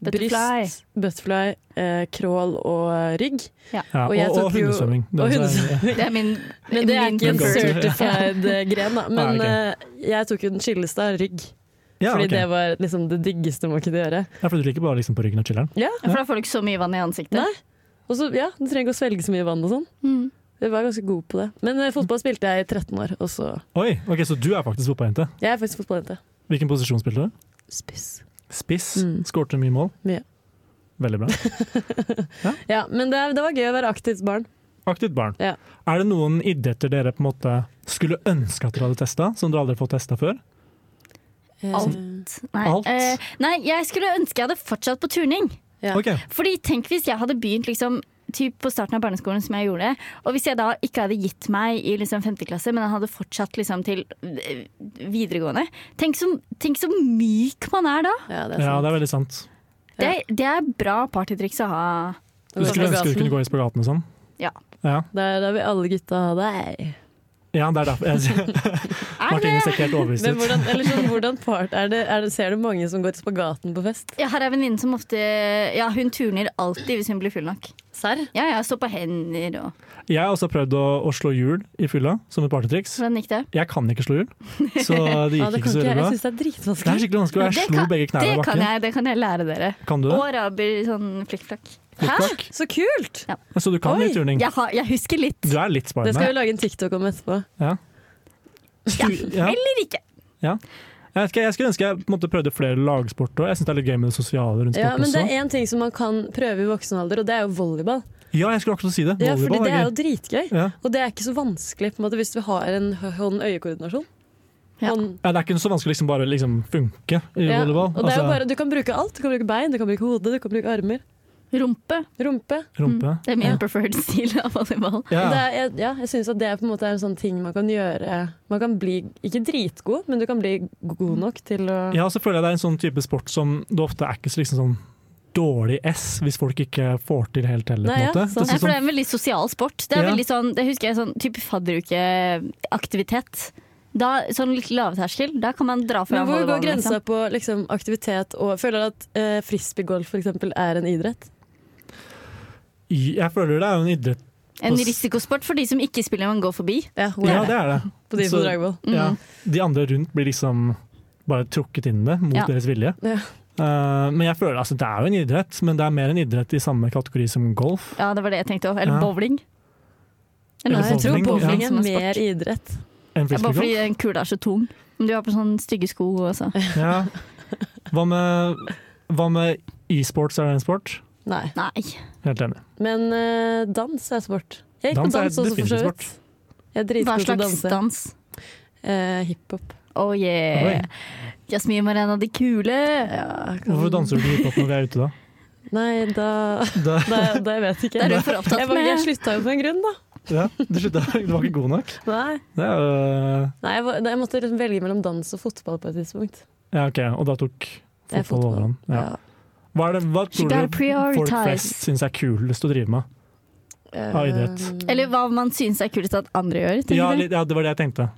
Speaker 1: Butterfly.
Speaker 3: bryst, butterfly, eh, crawl og eh, rygg.
Speaker 2: Ja,
Speaker 3: Og jeg
Speaker 2: og, og
Speaker 3: tok jo-
Speaker 2: hundesvømming. Det er
Speaker 3: Og
Speaker 2: også-
Speaker 3: hundesvømming.
Speaker 1: Det er min
Speaker 3: Men det er
Speaker 1: min
Speaker 3: ikke en
Speaker 2: go-to.
Speaker 3: certified eh, gren, da. Men
Speaker 2: Nei,
Speaker 3: eh, jeg tok jo den chilleste av rygg,
Speaker 2: Ja,
Speaker 3: fordi
Speaker 2: ok.
Speaker 3: det var liksom det diggeste man kunne gjøre.
Speaker 2: ja, for du ligger bare liksom på ryggen og chiller'n?
Speaker 1: For da får du ikke så mye vann i ansiktet.
Speaker 3: Nei. Og så, ja, Du trenger ikke å svelge så mye vann og sånn.
Speaker 1: Mm.
Speaker 3: Jeg var ganske god på det. Men eh, fotball spilte jeg i 13 år, og så
Speaker 2: Oi, ok, så du er faktisk fotballjente.
Speaker 3: Jeg er faktisk fotballjente.
Speaker 2: Hvilken posisjon spilte du?
Speaker 3: Spiss.
Speaker 2: Spiss.
Speaker 3: Mm.
Speaker 2: Skårte mye mål.
Speaker 3: Mye.
Speaker 2: Veldig bra.
Speaker 3: Ja, men det, er- det var gøy å være aktivt barn.
Speaker 2: Aktivt barn.
Speaker 3: Ja.
Speaker 2: Er det noen idretter dere på en måte skulle ønske at dere hadde testa, som dere aldri har fått testa før?
Speaker 3: Alt.
Speaker 1: Nei.
Speaker 2: Alt.
Speaker 1: eh, nei, jeg skulle ønske jeg hadde fortsatt på turning.
Speaker 3: Ja.
Speaker 2: Ok,
Speaker 1: Fordi tenk hvis jeg hadde begynt liksom typ på starten av barneskolen som jeg gjorde, og hvis jeg da ikke hadde gitt meg i liksom femte klasse, men hadde fortsatt liksom til eh, videregående. Tenk så, tenk så myk man er da!
Speaker 3: Ja, det er
Speaker 2: ja,
Speaker 3: sant.
Speaker 2: det er veldig sant.
Speaker 1: Det, det er bra partytriks å ha.
Speaker 2: Du skulle ønske du kunne gå i spagaten og sånn?
Speaker 1: Ja.
Speaker 2: Ja,
Speaker 3: Der, der vil alle gutta ha deg.
Speaker 2: ja det er derfor. Jeg,
Speaker 1: Er det?
Speaker 2: Martine ser ikke helt overbevist
Speaker 3: Men
Speaker 2: ut.
Speaker 3: hvordan, eller sånn, hvordan part er det, er det, Ser du mange som går i spagaten på fest?
Speaker 1: Jeg har ei venninne som ofte Ja, hun turner alltid hvis hun blir full nok.
Speaker 3: Serr?
Speaker 1: Ja, ja, stå på hender og
Speaker 2: Jeg har også prøvd å, å slå hjul i fylla, som et partytriks.
Speaker 1: Hvordan gikk det?
Speaker 2: Jeg kan ikke slå hjul, så det gikk
Speaker 3: Ja, det
Speaker 2: ikke
Speaker 3: kan
Speaker 2: så
Speaker 3: ikke jeg.
Speaker 2: veldig bra.
Speaker 3: Jeg syns det er
Speaker 2: Det er
Speaker 3: dritvanskelig.
Speaker 2: skikkelig vanskelig, og jeg
Speaker 1: det
Speaker 2: slo
Speaker 1: kan-
Speaker 2: begge knærne i
Speaker 1: Det kan
Speaker 2: bakken.
Speaker 1: jeg, det kan jeg lære dere.
Speaker 2: Kan du det?
Speaker 1: Og raber sånn flikkflakk.
Speaker 2: Fotbakk?
Speaker 3: Så kult!
Speaker 2: Så Altså, du kan
Speaker 3: Oi,
Speaker 2: litt turning?
Speaker 1: Jeg, har- jeg husker litt.
Speaker 2: Du er litt
Speaker 3: Det skal vi
Speaker 2: sparende.
Speaker 3: lage en TikTok om etterpå.
Speaker 2: Stu- Ja.
Speaker 1: Eller ikke.
Speaker 2: Jeg, vet ikke, jeg skulle ønske jeg på en måte, prøvde flere lagsport òg. Jeg syns det er litt gøy med det sosiale rundt sport
Speaker 3: Ja, men det
Speaker 2: også.
Speaker 3: er én ting som man kan prøve i voksen alder, og det er jo volleyball.
Speaker 2: Ja, jeg skulle akkurat si det.
Speaker 3: Ja, fordi
Speaker 2: Volleyball
Speaker 3: det er
Speaker 2: er
Speaker 3: jo
Speaker 2: gøy.
Speaker 3: dritgøy.
Speaker 2: Ja.
Speaker 3: Og det er ikke så vanskelig på en måte, hvis du har en hø- hånd-øye-koordinasjon.
Speaker 1: Ja.
Speaker 3: Hånd-
Speaker 2: Ja, det er ikke så vanskelig å liksom bare liksom funke i
Speaker 3: Ja,
Speaker 2: volleyball.
Speaker 3: Og det er
Speaker 2: Altså,
Speaker 3: jo bare, Du kan bruke alt. Du kan bruke bein, du kan bruke hode, du kan bruke armer.
Speaker 1: Rumpe. Mm.
Speaker 3: Rumpe. Mm,
Speaker 2: rumpe.
Speaker 1: Det er min preferred stil av volleyball.
Speaker 2: Ja.
Speaker 3: Det er, jeg, ja, jeg synes at det er på en måte er en sånn ting man kan gjøre Man kan bli, ikke dritgod, men du kan bli god nok til å
Speaker 2: ja, og så føler jeg det er en sånn type sport som du ofte er ikke så liksom sånn dårlig S hvis folk ikke får til helt heller.
Speaker 3: Nei, ja,
Speaker 2: på en
Speaker 3: sant.
Speaker 2: måte. Det
Speaker 1: Nei,
Speaker 2: er
Speaker 1: for det
Speaker 2: sånn,
Speaker 1: er en veldig sosial sport. Det er
Speaker 2: Ja.
Speaker 1: veldig sånn, det husker jeg sånn type fadderukeaktivitet. Da, sånn litt lavterskel. Da kan man dra fra
Speaker 3: Men hvor går
Speaker 1: volleyballen,
Speaker 3: grensa på liksom, aktivitet og Føler du at eh, frisbeegolf for eksempel er en idrett?
Speaker 2: jeg føler det er jo en idrett.
Speaker 1: Liksom. En risikosport for de som ikke spiller man går forbi.
Speaker 3: Ja, hvor
Speaker 2: Ja,
Speaker 3: er det?
Speaker 2: det er det.
Speaker 3: På de
Speaker 2: Så-
Speaker 3: på dragball.
Speaker 1: Mm.
Speaker 2: Ja. De andre rundt blir liksom bare trukket inn i det, mot
Speaker 1: Ja.
Speaker 2: deres vilje.
Speaker 3: Ja.
Speaker 2: Eh, men jeg føler, altså Det er jo en idrett, men det er mer en idrett i samme kategori som golf.
Speaker 1: Ja, det var det jeg tenkte òg. Eller
Speaker 2: Ja.
Speaker 1: bowling. Eller
Speaker 2: Ja,
Speaker 1: noe
Speaker 3: Jeg
Speaker 1: som
Speaker 3: tror
Speaker 2: bowling,
Speaker 1: bowling
Speaker 3: bowling
Speaker 1: ja.
Speaker 3: er mer idrett.
Speaker 2: En
Speaker 1: Det er bare
Speaker 2: frisbeegolf?
Speaker 1: fordi den kula er så tung. Men du har på sånne stygge sko også.
Speaker 2: Ja. Hva med, hva med e-sports, er det en sport?
Speaker 3: Nei.
Speaker 1: Nei.
Speaker 2: Helt enig.
Speaker 3: Men eh, dans er sport. Jeg gikk
Speaker 2: Dans
Speaker 3: på
Speaker 2: er
Speaker 3: dans også, for så
Speaker 2: definitivt
Speaker 3: vidt. Jeg er
Speaker 1: Hva
Speaker 3: dritgod til å
Speaker 1: slags
Speaker 3: danse.
Speaker 1: dans?
Speaker 3: Eh, Hiphop.
Speaker 1: Oh yeah. Jasmin var en av de kule.
Speaker 3: Ja, kan-
Speaker 2: Hvorfor danser du ikke hiphop når vi er ute, da?
Speaker 3: Nei, da
Speaker 2: da
Speaker 3: Da, da jeg vet ikke.
Speaker 1: Det er du for opptatt
Speaker 3: jeg, var, jeg
Speaker 1: med.
Speaker 3: slutta jo på en grunn, da.
Speaker 2: ja, du, slutta- du var ikke god nok?
Speaker 3: Nei,
Speaker 2: Det er jo
Speaker 3: Nei jeg, var, jeg måtte liksom velge mellom dans og fotball på et tidspunkt.
Speaker 2: Ja, OK. Og da tok
Speaker 3: Det er
Speaker 2: fotball overhånd. Ja.
Speaker 3: Ja.
Speaker 2: Hva, er det, hva
Speaker 1: She
Speaker 2: tror
Speaker 1: gotta
Speaker 2: du folk flest
Speaker 1: prioritize.
Speaker 2: syns er kulest å drive med? Ja, idrett.
Speaker 3: Eh,
Speaker 1: Eller hva man syns er kulest at andre gjør. tenker
Speaker 2: Ja,
Speaker 1: du?
Speaker 2: litt- ja, det var det jeg tenkte.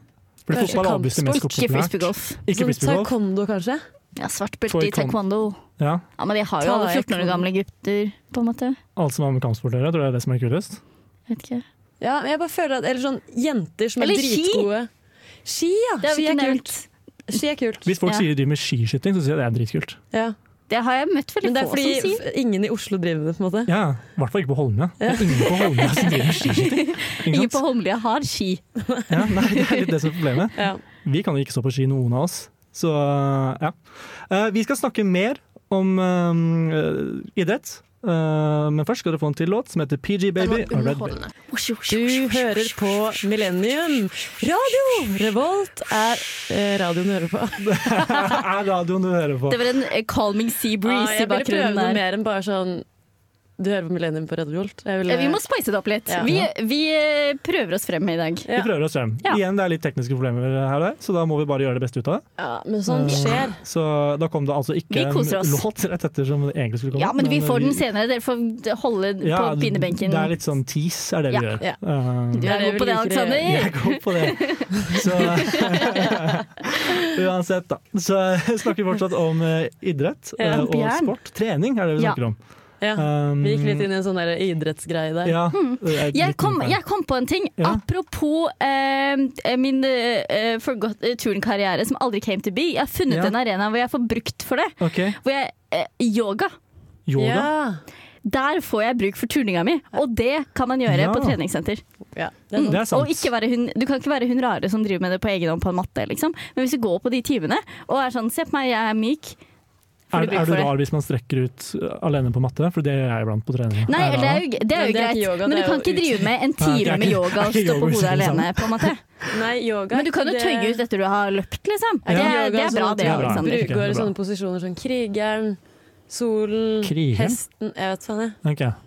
Speaker 2: Fordi
Speaker 3: Kanskje
Speaker 2: fotball er obviously mest
Speaker 1: Ikke
Speaker 2: populært.
Speaker 1: frisbeegolf.
Speaker 2: Ikke
Speaker 3: sånn
Speaker 2: frisbeegolf.
Speaker 3: Taekwondo, kanskje?
Speaker 1: Ja, svart belte i
Speaker 2: Taekwondo.
Speaker 1: taekwondo.
Speaker 2: Ja,
Speaker 1: Ja, Men de har jo alle 14 år
Speaker 3: Taekwondo.
Speaker 1: gamle gutter, på en måte.
Speaker 2: alt som har med kampsport å gjøre, tror jeg er det som er kulest.
Speaker 1: Vet ikke.
Speaker 3: Ja, men jeg bare føler at Eller sånn jenter som er
Speaker 1: Eller ski.
Speaker 3: dritgode. Ski, ja.
Speaker 1: Det har
Speaker 3: Ski
Speaker 1: vi
Speaker 3: er
Speaker 1: ikke
Speaker 3: kult.
Speaker 1: nevnt.
Speaker 3: Ski er kult.
Speaker 2: Hvis folk
Speaker 1: Ja.
Speaker 2: sier de driver med skiskyting, så sier jeg det er dritkult.
Speaker 3: Ja.
Speaker 1: Det har jeg møtt veldig
Speaker 3: Men det er
Speaker 1: få
Speaker 3: fordi
Speaker 1: som sier.
Speaker 3: f- ingen i Oslo driver med det, på en måte.
Speaker 2: Ja, I hvert fall ikke på Holmlia. Det er ingen på Holmlia som driver med skiskyting. Ikke
Speaker 1: Ingen
Speaker 2: sant?
Speaker 1: på Holmlia har ski.
Speaker 2: Ja, nei, det er litt det som er problemet.
Speaker 3: Ja.
Speaker 2: Vi kan jo ikke stå på ski, noen av oss. Så ja. Eh, Vi skal snakke mer om eh, idrett. Eh, Men først skal dere få en til låt som heter PG Baby. av Red Bull.
Speaker 3: Du hører på Millennium. Radio Revolt er eh, radioen du hører på.
Speaker 2: Det er radioen du hører på.
Speaker 1: Det var en eh, calming sea
Speaker 3: Ah,
Speaker 1: breeze i
Speaker 3: jeg ville prøve
Speaker 1: bakgrunnen
Speaker 3: noe
Speaker 1: der.
Speaker 3: mer enn bare sånn Du hører på Millennium på Radio Revolt. Jeg ville-
Speaker 1: Ja, Vi må spice det opp litt.
Speaker 3: Ja.
Speaker 1: Vi, vi eh, prøver oss frem i dag.
Speaker 2: Vi prøver oss frem.
Speaker 1: Ja.
Speaker 2: Igjen, det er litt tekniske problemer her, og der, så da må vi bare gjøre det beste ut av det.
Speaker 3: ja, men sånn
Speaker 2: Mm.
Speaker 3: skjer.
Speaker 2: Så da kom det altså ikke
Speaker 1: Vi
Speaker 2: en
Speaker 1: koser oss.
Speaker 2: låt rett etter som det egentlig skulle komme. eh,
Speaker 1: Ja, men vi får den senere. Dere får holde på
Speaker 2: Ja,
Speaker 1: pinnebenken.
Speaker 2: Det er litt sånn tease, er det vi
Speaker 1: Ja.
Speaker 2: gjør.
Speaker 3: Ja.
Speaker 2: Eh,
Speaker 1: Du
Speaker 3: Det er
Speaker 1: er
Speaker 3: det
Speaker 1: god på
Speaker 3: vi
Speaker 1: det,
Speaker 3: liker å gjøre.
Speaker 1: Aleksander.
Speaker 2: Jeg går på det. Så Uansett, da. Så snakker vi fortsatt om eh, idrett eh,
Speaker 3: Ja.
Speaker 2: og
Speaker 1: Bjørn.
Speaker 2: sport. Trening er det vi
Speaker 1: Ja.
Speaker 2: snakker om.
Speaker 3: Ja.
Speaker 2: Um,
Speaker 3: Vi gikk litt inn i en sånn der idrettsgreie der.
Speaker 2: Ja, det er
Speaker 1: Mm. Jeg
Speaker 2: litt
Speaker 1: kom,
Speaker 2: innpå.
Speaker 1: jeg kom på en ting.
Speaker 2: Ja.
Speaker 1: Apropos eh, min eh, forgått eh, turnkarriere som aldri came to be. Jeg har funnet
Speaker 2: Ja.
Speaker 1: en arena hvor jeg får brukt for det.
Speaker 2: Ok,
Speaker 1: Hvor jeg, eh, yoga.
Speaker 2: Yoga.
Speaker 1: Der får jeg bruk for turninga mi, og det kan man gjøre
Speaker 2: Ja.
Speaker 1: på treningssenter.
Speaker 3: Ja. Det er
Speaker 1: Mm.
Speaker 3: sånn.
Speaker 2: Det er sant.
Speaker 1: Og ikke være hun, du kan ikke være hun rare som driver med det på egen hånd på en matte, liksom. Men hvis du går på de timene og er sånn 'se på meg, jeg er myk', får
Speaker 2: Er,
Speaker 1: du bruk
Speaker 2: er du
Speaker 1: for det.
Speaker 2: rar hvis man strekker ut eh, alene på matte? For det gjør jeg iblant på trening.
Speaker 1: Nei,
Speaker 2: Er jeg
Speaker 1: eller det er
Speaker 2: rar?
Speaker 1: jo, det er
Speaker 3: Men
Speaker 1: jo
Speaker 3: det er
Speaker 1: greit,
Speaker 3: ikke yoga,
Speaker 1: men du
Speaker 3: det er
Speaker 1: kan
Speaker 3: jo
Speaker 1: ikke drive med en
Speaker 2: Nei, det
Speaker 1: time
Speaker 2: er
Speaker 1: med
Speaker 2: ikke-
Speaker 1: yoga
Speaker 2: det
Speaker 1: og
Speaker 2: er ikke
Speaker 1: stå på
Speaker 2: yoga
Speaker 1: hodet
Speaker 2: som sånn.
Speaker 1: alene, på en måte.
Speaker 3: Nei, yoga
Speaker 1: Men du kan jo
Speaker 3: det-
Speaker 1: tøye ut etter du har løpt, liksom.
Speaker 3: Er
Speaker 1: Det,
Speaker 3: ikke
Speaker 1: er-
Speaker 3: yoga
Speaker 1: det er bra,
Speaker 3: sånn at
Speaker 1: det,
Speaker 2: du
Speaker 3: du
Speaker 1: Aleksander.
Speaker 2: Alexander. Det er
Speaker 3: Bruker
Speaker 2: bra.
Speaker 3: sånne posisjoner som krigeren, solen,
Speaker 2: Krigeren?
Speaker 3: hesten Jeg vet faen, jeg.
Speaker 2: Ok.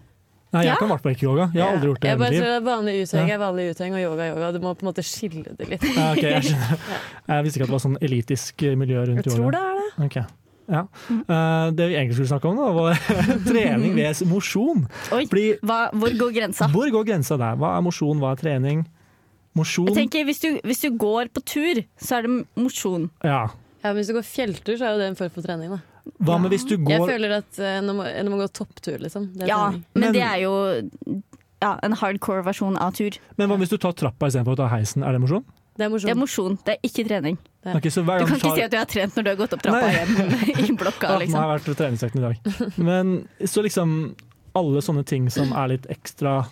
Speaker 2: Nei, jeg
Speaker 1: Ja.
Speaker 2: kan i hvert fall ikke yoga. Jeg har aldri gjort det i
Speaker 3: Jeg bare
Speaker 2: mitt liv.
Speaker 3: tror at vanlig utheng
Speaker 2: Ja.
Speaker 3: er vanlig utheng, og yoga er yoga. Du må på en måte skille det litt.
Speaker 2: Ja, Ah, ok, jeg, skjønner. jeg visste ikke at det var sånn elitisk eh, miljø rundt
Speaker 3: Jeg tror
Speaker 2: yoga.
Speaker 3: det er det.
Speaker 2: Ok. Ja. Eh, det vi egentlig skulle snakke om, da, var trening vs mosjon.
Speaker 1: Oi,
Speaker 2: Fordi
Speaker 1: hva, hvor går grensa?
Speaker 2: Hvor går grensa der? Hva er mosjon, hva er trening? Mosjon
Speaker 1: Jeg tenker, hvis du, hvis du går på tur, så er det mosjon.
Speaker 2: Ja.
Speaker 3: Ja, men Hvis du går fjelltur, så er jo det en form for trening. da
Speaker 2: Hva med hvis du
Speaker 3: Jeg
Speaker 2: går
Speaker 3: føler at eh, når man, når man går topptur, liksom. Det er
Speaker 1: Ja,
Speaker 3: trening.
Speaker 1: men
Speaker 2: Men-
Speaker 1: det er jo ja, en hardcore versjon av tur.
Speaker 2: Men hva hvis du tar trappa istedenfor å ta heisen? Er det mosjon?
Speaker 3: Det er
Speaker 1: Det er
Speaker 3: morsomt.
Speaker 1: mosjon, det er ikke trening.
Speaker 3: Ja.
Speaker 2: Ok, så hver
Speaker 1: Du
Speaker 2: gang
Speaker 1: kan ikke
Speaker 2: du tar
Speaker 1: si at du har trent når du har gått opp trappa
Speaker 2: Nei.
Speaker 1: hjem i blokka,
Speaker 2: Ja, Nå
Speaker 1: liksom.
Speaker 2: har jeg vært på treningsøkten i dag. Men så liksom alle sånne ting som er litt ekstra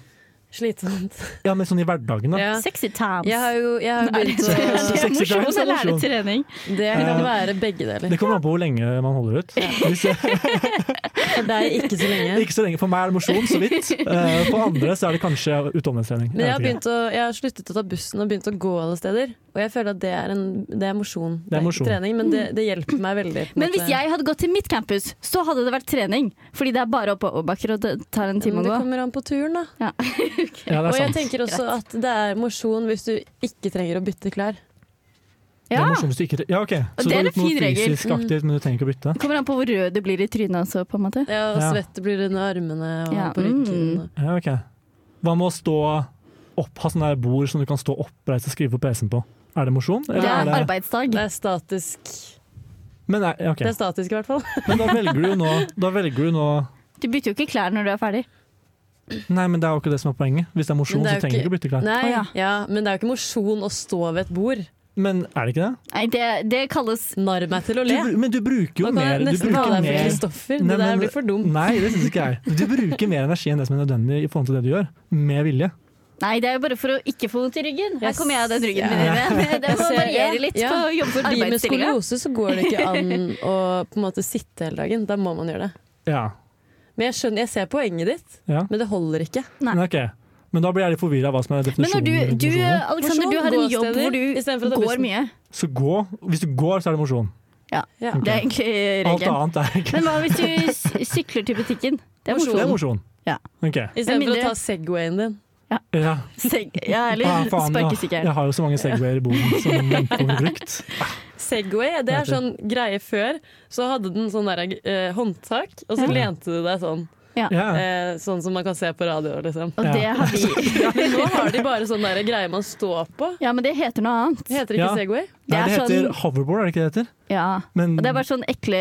Speaker 3: Slitsomt.
Speaker 2: Ja, men sånn i hverdagen, da.
Speaker 3: Ja.
Speaker 1: Sexy times.
Speaker 3: Jeg har jo jeg har jo
Speaker 1: Er det,
Speaker 3: begynt
Speaker 1: er
Speaker 3: å
Speaker 1: det
Speaker 2: Sexy
Speaker 1: mosjon
Speaker 2: times er
Speaker 1: eller er det
Speaker 2: mosjon.
Speaker 1: trening?
Speaker 3: Det kan
Speaker 2: Eh,
Speaker 3: være begge deler.
Speaker 2: Det kommer an på hvor lenge man holder ut. Hvis jeg,
Speaker 3: For deg ikke så lenge.
Speaker 2: ikke så lenge. For meg er det mosjon, så vidt. Eh, For andre så er det kanskje utholdenhetstrening.
Speaker 3: Men jeg har,
Speaker 2: vet ikke.
Speaker 3: begynt å, jeg har sluttet å ta bussen og begynt å gå alle steder. Og jeg føler at det er, en, det er mosjon.
Speaker 2: Det er
Speaker 3: ikke
Speaker 2: mosjon.
Speaker 3: trening, men det, det hjelper meg veldig. på en
Speaker 1: Men hvis
Speaker 3: måte.
Speaker 1: jeg hadde gått til mitt campus, så hadde det vært trening. Fordi det er bare oppoverbakker, og det tar en time
Speaker 3: Men
Speaker 1: å
Speaker 3: det
Speaker 1: gå.
Speaker 3: kommer an på turen, da.
Speaker 2: ja, det
Speaker 3: Og
Speaker 2: er
Speaker 3: jeg
Speaker 2: sant.
Speaker 3: tenker også at det er mosjon hvis du ikke trenger å bytte klær.
Speaker 2: Det
Speaker 1: Ja,
Speaker 2: er mosjon hvis du ikke Ja, OK.
Speaker 1: Og
Speaker 2: Så
Speaker 1: det
Speaker 2: du
Speaker 1: er
Speaker 2: har
Speaker 1: en
Speaker 2: gjort noe
Speaker 1: fin regel.
Speaker 2: fysisk
Speaker 3: Mm.
Speaker 2: aktivt, men du trenger ikke å bytte.
Speaker 1: det kommer an på hvor rød du blir i trynet også, på en måte.
Speaker 3: Ja, og
Speaker 2: Ja.
Speaker 3: svett blir under armene og
Speaker 1: Ja,
Speaker 3: på ryggen.
Speaker 1: mm.
Speaker 2: Ja, ok. Hva med å stå opp, ha sånne der bord som du kan stå oppreist og skrive på PC-en på? Er det mosjon? eller
Speaker 1: Det er
Speaker 2: er det-
Speaker 1: arbeidsdag.
Speaker 3: Det er statisk.
Speaker 2: Men, er, ja, ok.
Speaker 3: Det er sånn. statisk, i hvert fall.
Speaker 2: men da velger du jo nå, da velger du nå
Speaker 1: Du bytter jo ikke klær når du er ferdig.
Speaker 2: Nei, men det er jo ikke det som er poenget. Hvis det er mosjon,
Speaker 3: Men det er
Speaker 2: så
Speaker 3: jo
Speaker 2: trenger du ikke å bytte klær.
Speaker 3: Nei,
Speaker 1: Å, ja.
Speaker 3: ja, men det er jo ikke mosjon å stå ved et bord.
Speaker 2: Men er det ikke det?
Speaker 1: Nei, det, det kalles
Speaker 3: Narr meg til å
Speaker 2: Du,
Speaker 3: le.
Speaker 2: bru- men du bruker jo
Speaker 3: Nå kan
Speaker 2: mer
Speaker 3: jeg
Speaker 2: du
Speaker 3: nesten kalle
Speaker 2: bruker
Speaker 3: deg for
Speaker 2: mer,
Speaker 3: Kristoffer.
Speaker 2: Nei,
Speaker 3: Det der
Speaker 2: men-
Speaker 3: blir for dumt.
Speaker 2: Nei, det syns ikke jeg. Du bruker mer energi enn det som er nødvendig i forhold til det du gjør. Med vilje.
Speaker 1: Nei, det er jo bare for å ikke få vondt i ryggen. Her
Speaker 3: Jeg
Speaker 1: kommer jeg og den ryggen
Speaker 3: ser-
Speaker 1: min inn igjen. Det
Speaker 3: Jeg
Speaker 1: må
Speaker 3: ser-
Speaker 1: variere litt
Speaker 3: ja.
Speaker 1: på å jobbe for
Speaker 3: For de med
Speaker 1: arbeidsstillinga.
Speaker 3: skoliose så går det ikke an å på en måte sitte hele dagen. Da må man gjøre det.
Speaker 2: Ja.
Speaker 3: Men jeg skjønner, jeg ser poenget ditt,
Speaker 2: ja.
Speaker 3: men det holder ikke.
Speaker 2: Men, ok. men da blir jeg litt forvirra av hva som er
Speaker 1: Men når
Speaker 2: definisjonen.
Speaker 1: du, du
Speaker 2: definisjonen.
Speaker 1: Alexander, du
Speaker 3: Mosjon,
Speaker 1: har en jobb
Speaker 3: gåsteder,
Speaker 1: hvor
Speaker 3: istedenfor å
Speaker 1: du
Speaker 3: ta
Speaker 1: går
Speaker 3: bussen.
Speaker 1: mye.
Speaker 2: Så gå. Hvis du går, så er det mosjon.
Speaker 3: Ja.
Speaker 1: Det er egentlig
Speaker 2: Alt
Speaker 1: regelen.
Speaker 2: annet er ikke
Speaker 1: Men hva hvis du s- sykler til butikken? Det er
Speaker 2: Det er
Speaker 1: mosjon.
Speaker 2: mosjon.
Speaker 1: Ja.
Speaker 2: Ok.
Speaker 3: Istedenfor
Speaker 1: mindre-
Speaker 3: å ta Segwayen din.
Speaker 2: Ja.
Speaker 1: Seg- Ja,
Speaker 2: Ah,
Speaker 1: eller
Speaker 2: faen, ja.
Speaker 1: sparkesykkelen.
Speaker 2: Jeg har jo så mange Segwayer i boden som ikke blir brukt.
Speaker 3: Segway det er
Speaker 2: Vet du.
Speaker 3: sånn greie før. Så hadde den sånn der, eh, håndtak, og så lente du deg sånn.
Speaker 2: Ja.
Speaker 3: Eh, sånn som man kan se på radio. Liksom.
Speaker 1: Og
Speaker 2: Ja.
Speaker 1: det har vi.
Speaker 3: Men nå har de bare sånn der greie man står på.
Speaker 1: Ja, men det heter noe annet.
Speaker 3: Det heter ikke
Speaker 2: Ja.
Speaker 3: Segway.
Speaker 2: Nei,
Speaker 1: er
Speaker 2: det heter
Speaker 1: sånn-
Speaker 2: hoverboard, er det ikke det heter?
Speaker 1: Ja.
Speaker 2: Men
Speaker 1: Og det er bare sånn ekle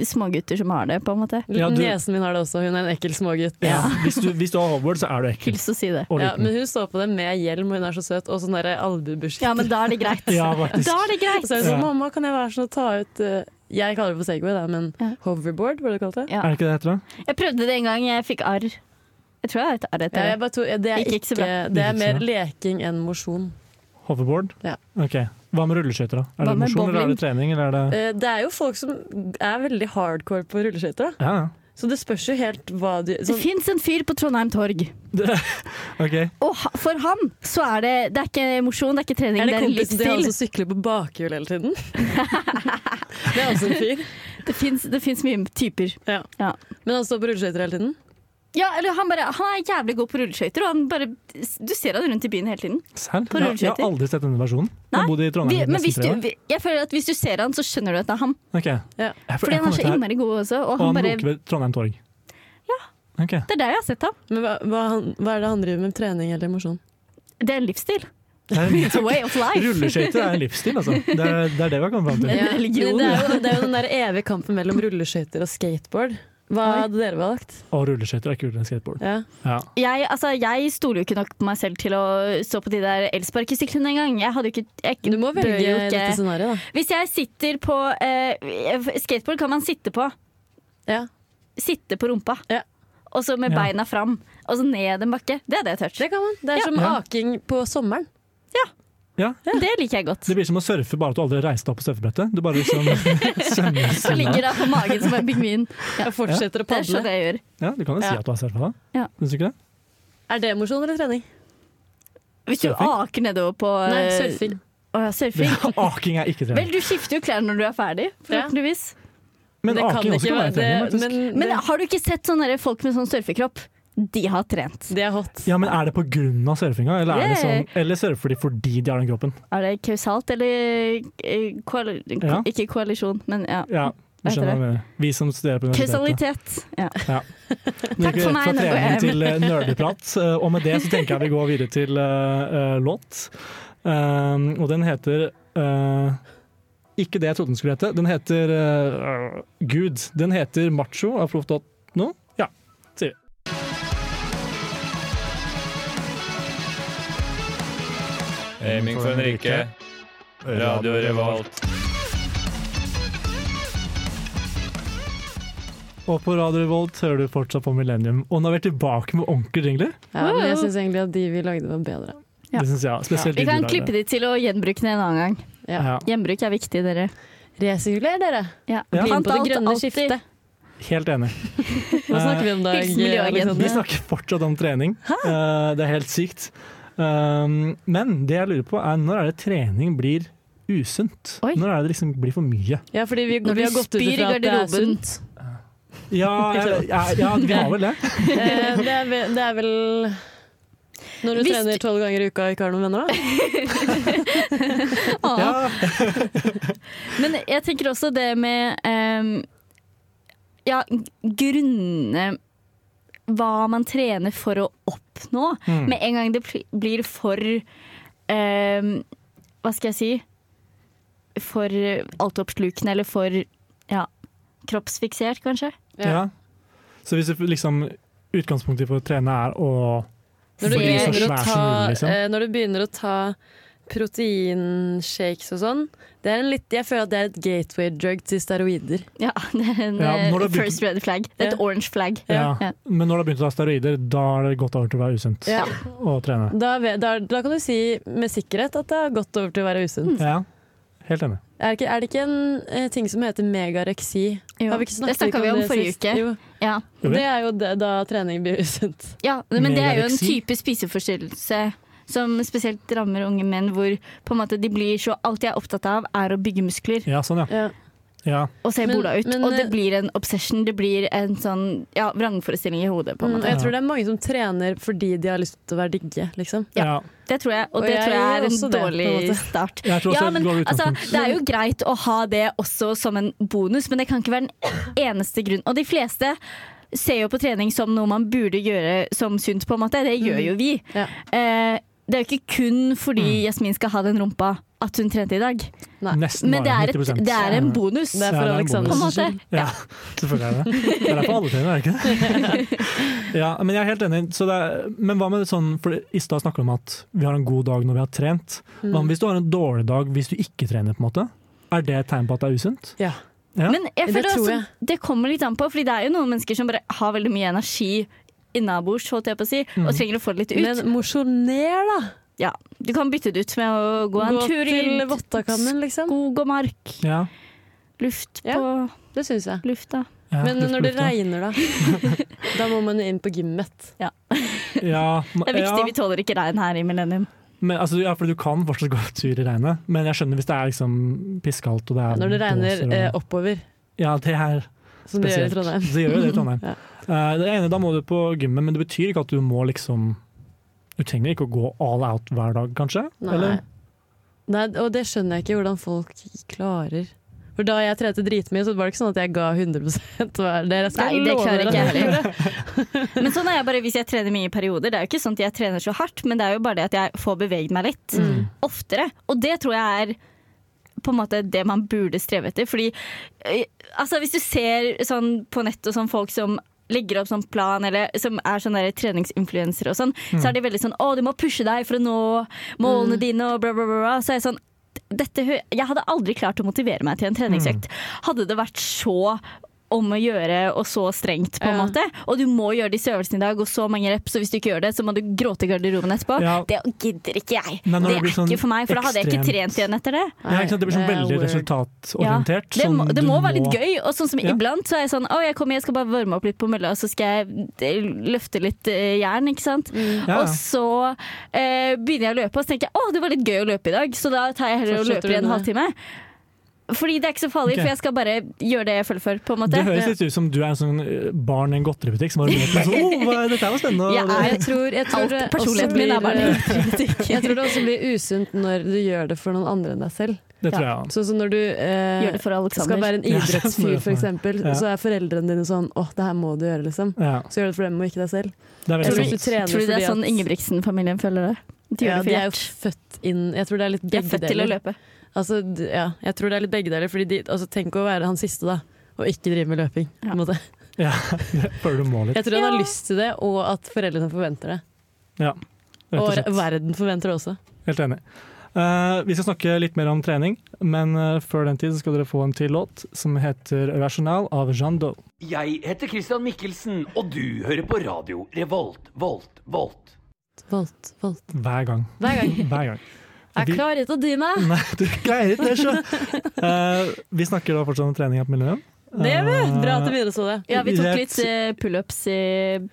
Speaker 1: uh, smågutter som har det, på en måte.
Speaker 2: Ja, du-
Speaker 3: Niesen min har det også, hun er en ekkel smågutt.
Speaker 2: ja. hvis, du, hvis du har hoverboard, så er du ekkel.
Speaker 1: Hils og si det.
Speaker 2: Og
Speaker 3: Ja,
Speaker 2: liten.
Speaker 3: men hun står på det med hjelm, og hun er så søt, og sånn der albuebeskytter.
Speaker 1: Ja, men da er det greit.
Speaker 2: Ja,
Speaker 1: Da
Speaker 2: faktisk. Altså-
Speaker 1: er det
Speaker 3: Og
Speaker 1: greit.
Speaker 3: Så er hun sånn,
Speaker 2: Ja.
Speaker 3: mamma, kan jeg være sånn og ta ut eh, Jeg kaller det for Segway, da, men
Speaker 1: Ja.
Speaker 3: hoverboard, var det det kalt det?
Speaker 2: Er det ikke det heter, da?
Speaker 1: Jeg prøvde det en gang, jeg fikk arr. Jeg tror jeg har et arr
Speaker 3: Ja,
Speaker 1: etter
Speaker 3: jeg
Speaker 1: det.
Speaker 3: bare tror, ja, det, er
Speaker 1: Gikk
Speaker 3: ikke,
Speaker 1: ikke så bra.
Speaker 3: det
Speaker 2: Gikk
Speaker 3: er
Speaker 2: ikke
Speaker 3: mer
Speaker 2: så
Speaker 3: leking enn mosjon.
Speaker 2: Hoverboard?
Speaker 3: Ja.
Speaker 2: Ok. Hva med rulleskøyter, da?
Speaker 1: Hva
Speaker 2: Er det
Speaker 1: med
Speaker 2: mosjon, eller er
Speaker 1: bowling?
Speaker 2: det trening, eller er det
Speaker 3: Eh, Det er jo folk som er veldig hardcore på rulleskøyter, da.
Speaker 2: Ja, ja.
Speaker 3: så det spørs jo helt hva du
Speaker 1: Det
Speaker 3: sånn,
Speaker 1: fins en fyr på Trondheim torg,
Speaker 2: Ok.
Speaker 1: og ha- for han så er det Det er ikke mosjon, det er ikke trening,
Speaker 3: Er det
Speaker 1: det er en
Speaker 3: kompisen din
Speaker 1: livsstil.
Speaker 3: som sykler på bakhjul hele tiden? det er også en fyr.
Speaker 1: Det fins- Det fins mye typer.
Speaker 3: Ja.
Speaker 1: Ja.
Speaker 3: Men han står på rulleskøyter hele tiden?
Speaker 1: Ja, eller han, bare, han er jævlig god på rulleskøyter, og han bare Du ser han rundt i byen hele tiden.
Speaker 2: Serr?
Speaker 1: På
Speaker 2: Jeg, jeg har
Speaker 1: rulleskøyter?
Speaker 2: aldri sett denne versjonen. Jeg har
Speaker 1: Nei,
Speaker 2: bodd i
Speaker 1: Vi,
Speaker 2: Trondheim i
Speaker 1: men
Speaker 2: nesten
Speaker 1: hvis du,
Speaker 2: tre år.
Speaker 1: jeg føler at hvis du ser han, så skjønner du at det er han.
Speaker 2: Ok.
Speaker 3: Ja.
Speaker 2: Jeg-
Speaker 1: Fordi
Speaker 2: jeg
Speaker 1: han
Speaker 2: kom
Speaker 1: er så
Speaker 2: etter her.
Speaker 1: innmari god også. Og
Speaker 2: Og
Speaker 1: han
Speaker 2: han
Speaker 1: bare,
Speaker 2: roker ved Trondheim torg? Ja. Ok.
Speaker 1: det er der jeg har sett ham.
Speaker 3: Men hva, hva, han- hva er det han driver med? Trening eller mosjon?
Speaker 1: Det er en livsstil.
Speaker 2: Det er-
Speaker 1: It's a way of life.
Speaker 2: Rulleskøyter er en livsstil, altså. Det er det, er det vi har kommet fram til.
Speaker 1: En
Speaker 3: Ja, men det,
Speaker 1: religion.
Speaker 3: er jo, det er jo den der evige kampen mellom rulleskøyter og skateboard. Hva
Speaker 1: Oi.
Speaker 3: hadde dere valgt?
Speaker 2: Og rulleskøyter er kulere enn skateboard.
Speaker 3: Ja.
Speaker 2: Ja.
Speaker 1: Jeg, altså, jeg stoler jo ikke nok på meg selv til å stå på de der elsparkesyklene engang. Jeg hadde jo ikke jeg,
Speaker 3: Du må
Speaker 1: bør
Speaker 3: velge
Speaker 1: jo ikke-
Speaker 3: dette scenarioet, da.
Speaker 1: Hvis jeg sitter på eh, Skateboard kan man sitte på.
Speaker 3: Ja.
Speaker 1: Sitte på rumpa.
Speaker 3: Ja.
Speaker 1: Og så med
Speaker 2: Ja.
Speaker 1: beina fram. Og så ned en bakke. Det hadde jeg tørt.
Speaker 3: Det kan man. Det er
Speaker 1: Ja.
Speaker 3: som
Speaker 2: Ja.
Speaker 3: aking på sommeren.
Speaker 1: Det, liker jeg godt.
Speaker 2: Det blir som å surfe, bare at du aldri reiste deg opp på surfebrettet. Du bare liksom svømmer ved
Speaker 1: Så
Speaker 2: siden av.
Speaker 1: ligger da på magen som en pingvin.
Speaker 3: Jeg fortsetter å
Speaker 1: Det er sånn
Speaker 3: padle.
Speaker 1: jeg gjør.
Speaker 2: Ja, du kan jo si
Speaker 3: Ja.
Speaker 2: at du har surfa, da.
Speaker 1: Ja.
Speaker 2: Syns du ikke det?
Speaker 3: Er det mosjon eller trening?
Speaker 1: Hvis du
Speaker 2: Surfing?
Speaker 1: aker nedover på
Speaker 3: Nei,
Speaker 1: eh,
Speaker 3: surfing.
Speaker 1: Å, ja, surfing.
Speaker 2: Aking er ikke
Speaker 1: Vel,
Speaker 2: trening.
Speaker 1: du skifter jo klær når du er ferdig, forhåpentligvis.
Speaker 2: Men
Speaker 3: det
Speaker 2: aking også kan
Speaker 3: det,
Speaker 2: være trening, faktisk.
Speaker 3: men,
Speaker 1: Men
Speaker 3: det,
Speaker 1: har du ikke sett sånne der folk med sånn surfekropp? De har trent.
Speaker 3: det er hot.
Speaker 2: Ja, men er det på grunn av surfinga, eller, er det
Speaker 1: Yeah.
Speaker 2: sånn, eller surfer de fordi de har den kroppen?
Speaker 1: Er det kausalt eller eh, koali
Speaker 2: Ja.
Speaker 1: Ikke koalisjon, men ja.
Speaker 2: Ja, du
Speaker 1: Hva heter
Speaker 2: skjønner hva jeg mener. Vi som studerer på universitetet.
Speaker 1: Kausalitet. Ja.
Speaker 2: Nå gikk vi
Speaker 1: for
Speaker 2: rett
Speaker 1: meg,
Speaker 2: fra
Speaker 1: nå går jeg hjem.
Speaker 2: trening til eh, nerdeprat, eh, og med det så tenker jeg vi går videre til eh, eh, låt. Eh, og den heter eh, Ikke det jeg trodde den skulle hete. Den heter eh, Gud. Den heter Macho av proff.no. Ja, sier vi.
Speaker 4: Aiming Eh, for en rike. Radio Revolt.
Speaker 2: Og på Radio Revolt hører du fortsatt på Millennium. Og nå er vi tilbake med ordentlige jingler.
Speaker 3: Ja, men jeg syns egentlig at de vi lagde, var bedre.
Speaker 1: Ja.
Speaker 2: Det syns jeg. Spesielt
Speaker 1: Vi
Speaker 2: de
Speaker 1: kan
Speaker 2: du
Speaker 1: klippe
Speaker 2: lagde.
Speaker 1: de til å gjenbruke den en annen gang.
Speaker 2: Ja.
Speaker 1: Gjenbruk er viktig, dere.
Speaker 3: Resirkuler, dere!
Speaker 1: Ja.
Speaker 2: Ja.
Speaker 3: Bli med
Speaker 1: Pant
Speaker 3: på det
Speaker 1: alt,
Speaker 3: grønne
Speaker 1: alltid.
Speaker 3: skiftet.
Speaker 2: Helt enig.
Speaker 3: Hva
Speaker 2: Eh,
Speaker 3: snakker vi om da?
Speaker 1: Hilsen miljøagenten.
Speaker 2: Vi
Speaker 3: Alexander?
Speaker 2: snakker fortsatt om trening. Eh, det er helt sykt. Um, men det jeg lurer på er når er det trening blir usunt?
Speaker 1: Oi.
Speaker 2: Når er det liksom blir for mye?
Speaker 3: Ja, fordi vi,
Speaker 1: Når
Speaker 3: vi
Speaker 1: du
Speaker 3: har gått ut
Speaker 1: spyr i
Speaker 3: ifra at det er
Speaker 1: garderoben.
Speaker 3: sunt.
Speaker 2: Ja, jeg, jeg, ja, vi har vel det.
Speaker 3: Eh, det, er vel, det er vel Når du
Speaker 1: Hvis-
Speaker 3: trener tolv ganger i uka og ikke har noen venner, da?
Speaker 1: Ah.
Speaker 2: Ja,
Speaker 1: Men jeg tenker også det med ehm, Ja, grunne Hva man trener for å oppnå.
Speaker 2: Mm.
Speaker 1: Med en gang det pl- blir for ehm, Hva skal jeg si? For eh, altoppslukende, eller for ja, kroppsfiksert, kanskje.
Speaker 2: ja. Så hvis du liksom utgangspunktet for å trene er å
Speaker 3: Når du
Speaker 2: bli så
Speaker 3: begynner å
Speaker 2: svær
Speaker 3: ta,
Speaker 2: som mulig, liksom.
Speaker 3: eh, når du begynner å ta proteinshakes og sånn. Det er en litt, jeg føler at det er et gateway drug til steroider.
Speaker 1: Ja, det er en
Speaker 2: Ja,
Speaker 1: eh,
Speaker 2: når det har begynt-
Speaker 1: first red flag. Det er et
Speaker 3: Ja.
Speaker 1: orange flag.
Speaker 2: Ja.
Speaker 1: Ja.
Speaker 2: Men når du har begynt å ta steroider, da har det gått over til å være usunt
Speaker 3: Ja.
Speaker 2: å trene.
Speaker 3: Da, ve- da, da kan du si med sikkerhet at det har gått over til å være usunt.
Speaker 2: Ja, helt enig.
Speaker 3: Er, det ikke- er det ikke en eh, ting som heter megareksi?
Speaker 1: Jo.
Speaker 3: Har vi ikke
Speaker 1: det
Speaker 3: snakket
Speaker 1: snakka vi om
Speaker 3: det
Speaker 1: forrige
Speaker 3: sist?
Speaker 1: uke.
Speaker 3: Jo.
Speaker 1: Ja.
Speaker 2: Jo, vi-
Speaker 3: Det er jo det, da trening blir usunt.
Speaker 1: ja, Men det er jo en
Speaker 2: Megareksi.
Speaker 1: type spiseforstyrrelse som spesielt rammer unge menn, hvor på en måte de blir så Alt de er opptatt av, er å bygge muskler
Speaker 2: Ja, sånn, ja.
Speaker 3: Ja.
Speaker 2: ja.
Speaker 1: og se
Speaker 3: Men-
Speaker 1: bola ut.
Speaker 3: men,
Speaker 1: og det
Speaker 3: eh,
Speaker 1: blir en obsession. Det blir en sånn ja, vrangforestilling i hodet, på en
Speaker 3: Mm, og
Speaker 1: måte.
Speaker 3: jeg tror det er mange som trener fordi de har lyst til å være digge, liksom.
Speaker 1: Ja.
Speaker 2: ja.
Speaker 1: Det tror jeg, og,
Speaker 3: Og
Speaker 1: det
Speaker 3: jeg
Speaker 1: tror jeg er
Speaker 3: gjør
Speaker 1: en
Speaker 3: også det, på en
Speaker 1: dårlig
Speaker 3: måte.
Speaker 1: start.
Speaker 2: Jeg tror også
Speaker 1: Ja,
Speaker 2: det
Speaker 1: men
Speaker 2: går i
Speaker 1: altså,
Speaker 2: utgangspunkt.
Speaker 1: Det er jo greit å ha det også som en bonus, men det kan ikke være den eneste grunnen. Og de fleste ser jo på trening som noe man burde gjøre som sunt, på en måte. Det gjør jo vi.
Speaker 3: Mm. Ja.
Speaker 1: Eh, det er jo ikke kun fordi
Speaker 2: Mm.
Speaker 1: Jasmin skal ha den rumpa at hun trente i dag,
Speaker 2: Nesten
Speaker 1: altså, men det
Speaker 2: bare
Speaker 1: er, et,
Speaker 2: 90
Speaker 1: det er en bonus.
Speaker 3: Det er
Speaker 2: Ja,
Speaker 3: for
Speaker 2: det er en
Speaker 3: Alexander.
Speaker 1: På en
Speaker 2: bonus.
Speaker 1: måte.
Speaker 2: Ja, selvfølgelig er det det. Det er derfor alle trener, er det ikke det? Ja, men jeg er helt enig. Så det er, men hva med det sånn, for i stad snakka vi om at vi har en god dag når vi har trent. Hva
Speaker 3: Mm.
Speaker 2: med hvis du har en dårlig dag hvis du ikke trener, på en måte? Er det et tegn på at det er usunt?
Speaker 3: Ja.
Speaker 2: Ja.
Speaker 1: Men jeg
Speaker 3: Det
Speaker 1: føler det,
Speaker 3: tror
Speaker 1: også,
Speaker 3: jeg.
Speaker 1: det kommer litt an på, Fordi det er jo noen mennesker som bare har veldig mye energi innabords, holdt jeg på å si,
Speaker 2: Mm.
Speaker 1: og trenger å få det litt ut.
Speaker 3: Men mosjoner, da!
Speaker 1: ja, du kan bytte det ut med å gå en
Speaker 3: Gå
Speaker 1: tur
Speaker 3: til
Speaker 1: i
Speaker 3: Vottakammen, liksom.
Speaker 1: skog og mark.
Speaker 2: Ja.
Speaker 1: Luft
Speaker 3: Ja.
Speaker 1: på
Speaker 3: Det syns jeg.
Speaker 1: lufta.
Speaker 2: ja
Speaker 3: Men
Speaker 2: luft på
Speaker 3: når det
Speaker 2: lufta.
Speaker 3: regner, da? Da må man jo inn på gymmet.
Speaker 2: ja,
Speaker 1: Det er viktig,
Speaker 2: ja.
Speaker 1: vi tåler ikke regn her i Millennium.
Speaker 2: Men, altså, ja, for du kan fortsatt gå tur i regnet, men jeg skjønner hvis det er liksom pisskaldt og det er
Speaker 3: Når det regner
Speaker 2: blåser og-
Speaker 3: eh, oppover,
Speaker 2: Ja, det er
Speaker 3: som det gjør i Trondheim.
Speaker 2: Det gjør jo det i Trondheim.
Speaker 3: Ja.
Speaker 2: Eh, det ene, da må du på gymmet, men det betyr ikke at du må liksom Du trenger ikke å gå all out hver dag, kanskje?
Speaker 3: Nei. Nei, og det skjønner jeg ikke hvordan folk klarer. For da jeg trente dritmye, så var det ikke sånn at jeg ga 100 hver del. Jeg skal
Speaker 1: Nei, det
Speaker 3: love
Speaker 1: klarer
Speaker 3: dere
Speaker 1: ikke jeg
Speaker 3: at gjorde
Speaker 1: heller.
Speaker 3: det.
Speaker 1: Men sånn er jeg bare hvis jeg trener mye i perioder. Det er jo ikke sånn at jeg trener så hardt, men det er jo bare det at jeg får beveget meg litt
Speaker 2: Mm.
Speaker 1: oftere. Og det tror jeg er på en måte det man burde streve etter. Fordi eh, altså hvis du ser sånn på nett og sånn folk som legger opp sånn plan, eller som er sånne der treningsinfluensere og sånn, så er de veldig sånn 'Å, du må pushe deg for å nå målene dine', og bla, bla, bla. bla. Så er jeg sånn dette, hø- Jeg hadde aldri klart å motivere meg til en treningsøkt. Hadde det vært så om å gjøre og så strengt, på en
Speaker 3: Ja.
Speaker 1: måte. Og du må gjøre disse øvelsene i dag, og så mange reps, og hvis du ikke gjør det, så må du gråte i garderoben etterpå.
Speaker 2: Ja.
Speaker 1: Det gidder ikke jeg.
Speaker 2: Nei,
Speaker 1: det
Speaker 2: når det
Speaker 1: er
Speaker 2: blir sånn
Speaker 1: ikke for meg, for da hadde jeg ikke
Speaker 2: ekstremt-
Speaker 1: trent igjen etter det.
Speaker 2: Ja, ikke sant? Det blir
Speaker 3: Nei,
Speaker 2: sånn
Speaker 3: det
Speaker 2: veldig
Speaker 3: er weird.
Speaker 2: resultatorientert.
Speaker 1: det må,
Speaker 2: som
Speaker 1: det
Speaker 2: du
Speaker 1: må være litt gøy. Og sånn som
Speaker 2: Ja.
Speaker 1: iblant så er jeg sånn Å, jeg kommer, jeg skal bare varme opp litt på mølla, og så skal jeg eh, løfte litt eh, jern, ikke sant.
Speaker 2: Ja.
Speaker 1: Og så eh, begynner jeg å løpe, og så tenker jeg å, det var litt gøy å løpe i dag, så da tar jeg heller
Speaker 3: Så
Speaker 1: og
Speaker 3: slutter
Speaker 1: løper
Speaker 3: du
Speaker 1: i en
Speaker 3: med det.
Speaker 1: halvtime. Fordi det er ikke så farlig,
Speaker 2: Ok.
Speaker 1: for jeg skal bare gjøre det jeg føler for, på en måte.
Speaker 2: Det høres litt ut som du er en sånn eh, barn i en godteributikk som har løpt med sånn oh, hva- Dette her var spennende. og
Speaker 1: Jeg
Speaker 2: det-
Speaker 1: er-
Speaker 3: Jeg tror, jeg tror
Speaker 1: Alt
Speaker 3: det
Speaker 1: personligheten
Speaker 3: også
Speaker 1: min er
Speaker 3: blir,
Speaker 1: bare
Speaker 3: eh, Jeg tror det også blir usunt når du gjør det for noen andre enn deg selv.
Speaker 2: Det tror jeg altså.» også.
Speaker 3: Sånn som når du eh,
Speaker 1: Gjør det for Alexander.
Speaker 3: skal være en
Speaker 2: Ja, sånn er
Speaker 3: idrettsfyr,
Speaker 2: det for
Speaker 3: for eksempel,
Speaker 2: Ja.
Speaker 3: så er foreldrene dine sånn 'Å, det her må du gjøre', liksom.
Speaker 2: Ja,
Speaker 3: Så gjør det for dem og ikke deg selv.
Speaker 2: det er
Speaker 3: Jeg tror hvis
Speaker 2: veldig
Speaker 3: du
Speaker 2: sant.
Speaker 3: trener
Speaker 1: Tror du det
Speaker 3: fordi
Speaker 1: er sånn
Speaker 3: at-
Speaker 1: Ingebrigtsen-familien føler det? De gjør
Speaker 3: Ja,
Speaker 1: det for
Speaker 3: de er jo
Speaker 1: hjert.
Speaker 3: født inn Jeg tror det er litt
Speaker 1: De er
Speaker 3: begge
Speaker 1: født til å
Speaker 3: deler.
Speaker 1: løpe.
Speaker 3: Altså, d- ja, jeg tror det er litt begge deler. Fordi de, altså, tenk å være han siste, da. Og ikke drive med løping. på en
Speaker 1: Ja.
Speaker 3: måte.
Speaker 2: Ja, Føler du må litt.
Speaker 3: Jeg tror han har lyst til det, og at foreldrene forventer det.
Speaker 2: Ja,
Speaker 3: Og
Speaker 2: rett og slett.
Speaker 3: verden forventer det også.
Speaker 2: Helt enig. Eh, vi skal snakke litt mer om trening, men eh, før den tid så skal dere få en til låt som heter 'Rational' av Jean Doe.
Speaker 5: Jeg heter Christian Mikkelsen, og du hører på radio Revolt, Volt, Volt.
Speaker 3: Volt, volt.
Speaker 2: Hver gang.
Speaker 3: Hver gang.
Speaker 2: Hver gang.
Speaker 3: Jeg
Speaker 2: Vi-
Speaker 3: klarer ikke å dy meg!
Speaker 2: Nei, du greier ikke det, sjø. Eh, vi snakker da fortsatt om trening i Millennium.
Speaker 3: Det er vel bra at
Speaker 2: Eh,
Speaker 3: du begynner å så det.
Speaker 1: Ja, vi tok
Speaker 2: Rett-
Speaker 1: litt eh, pullups i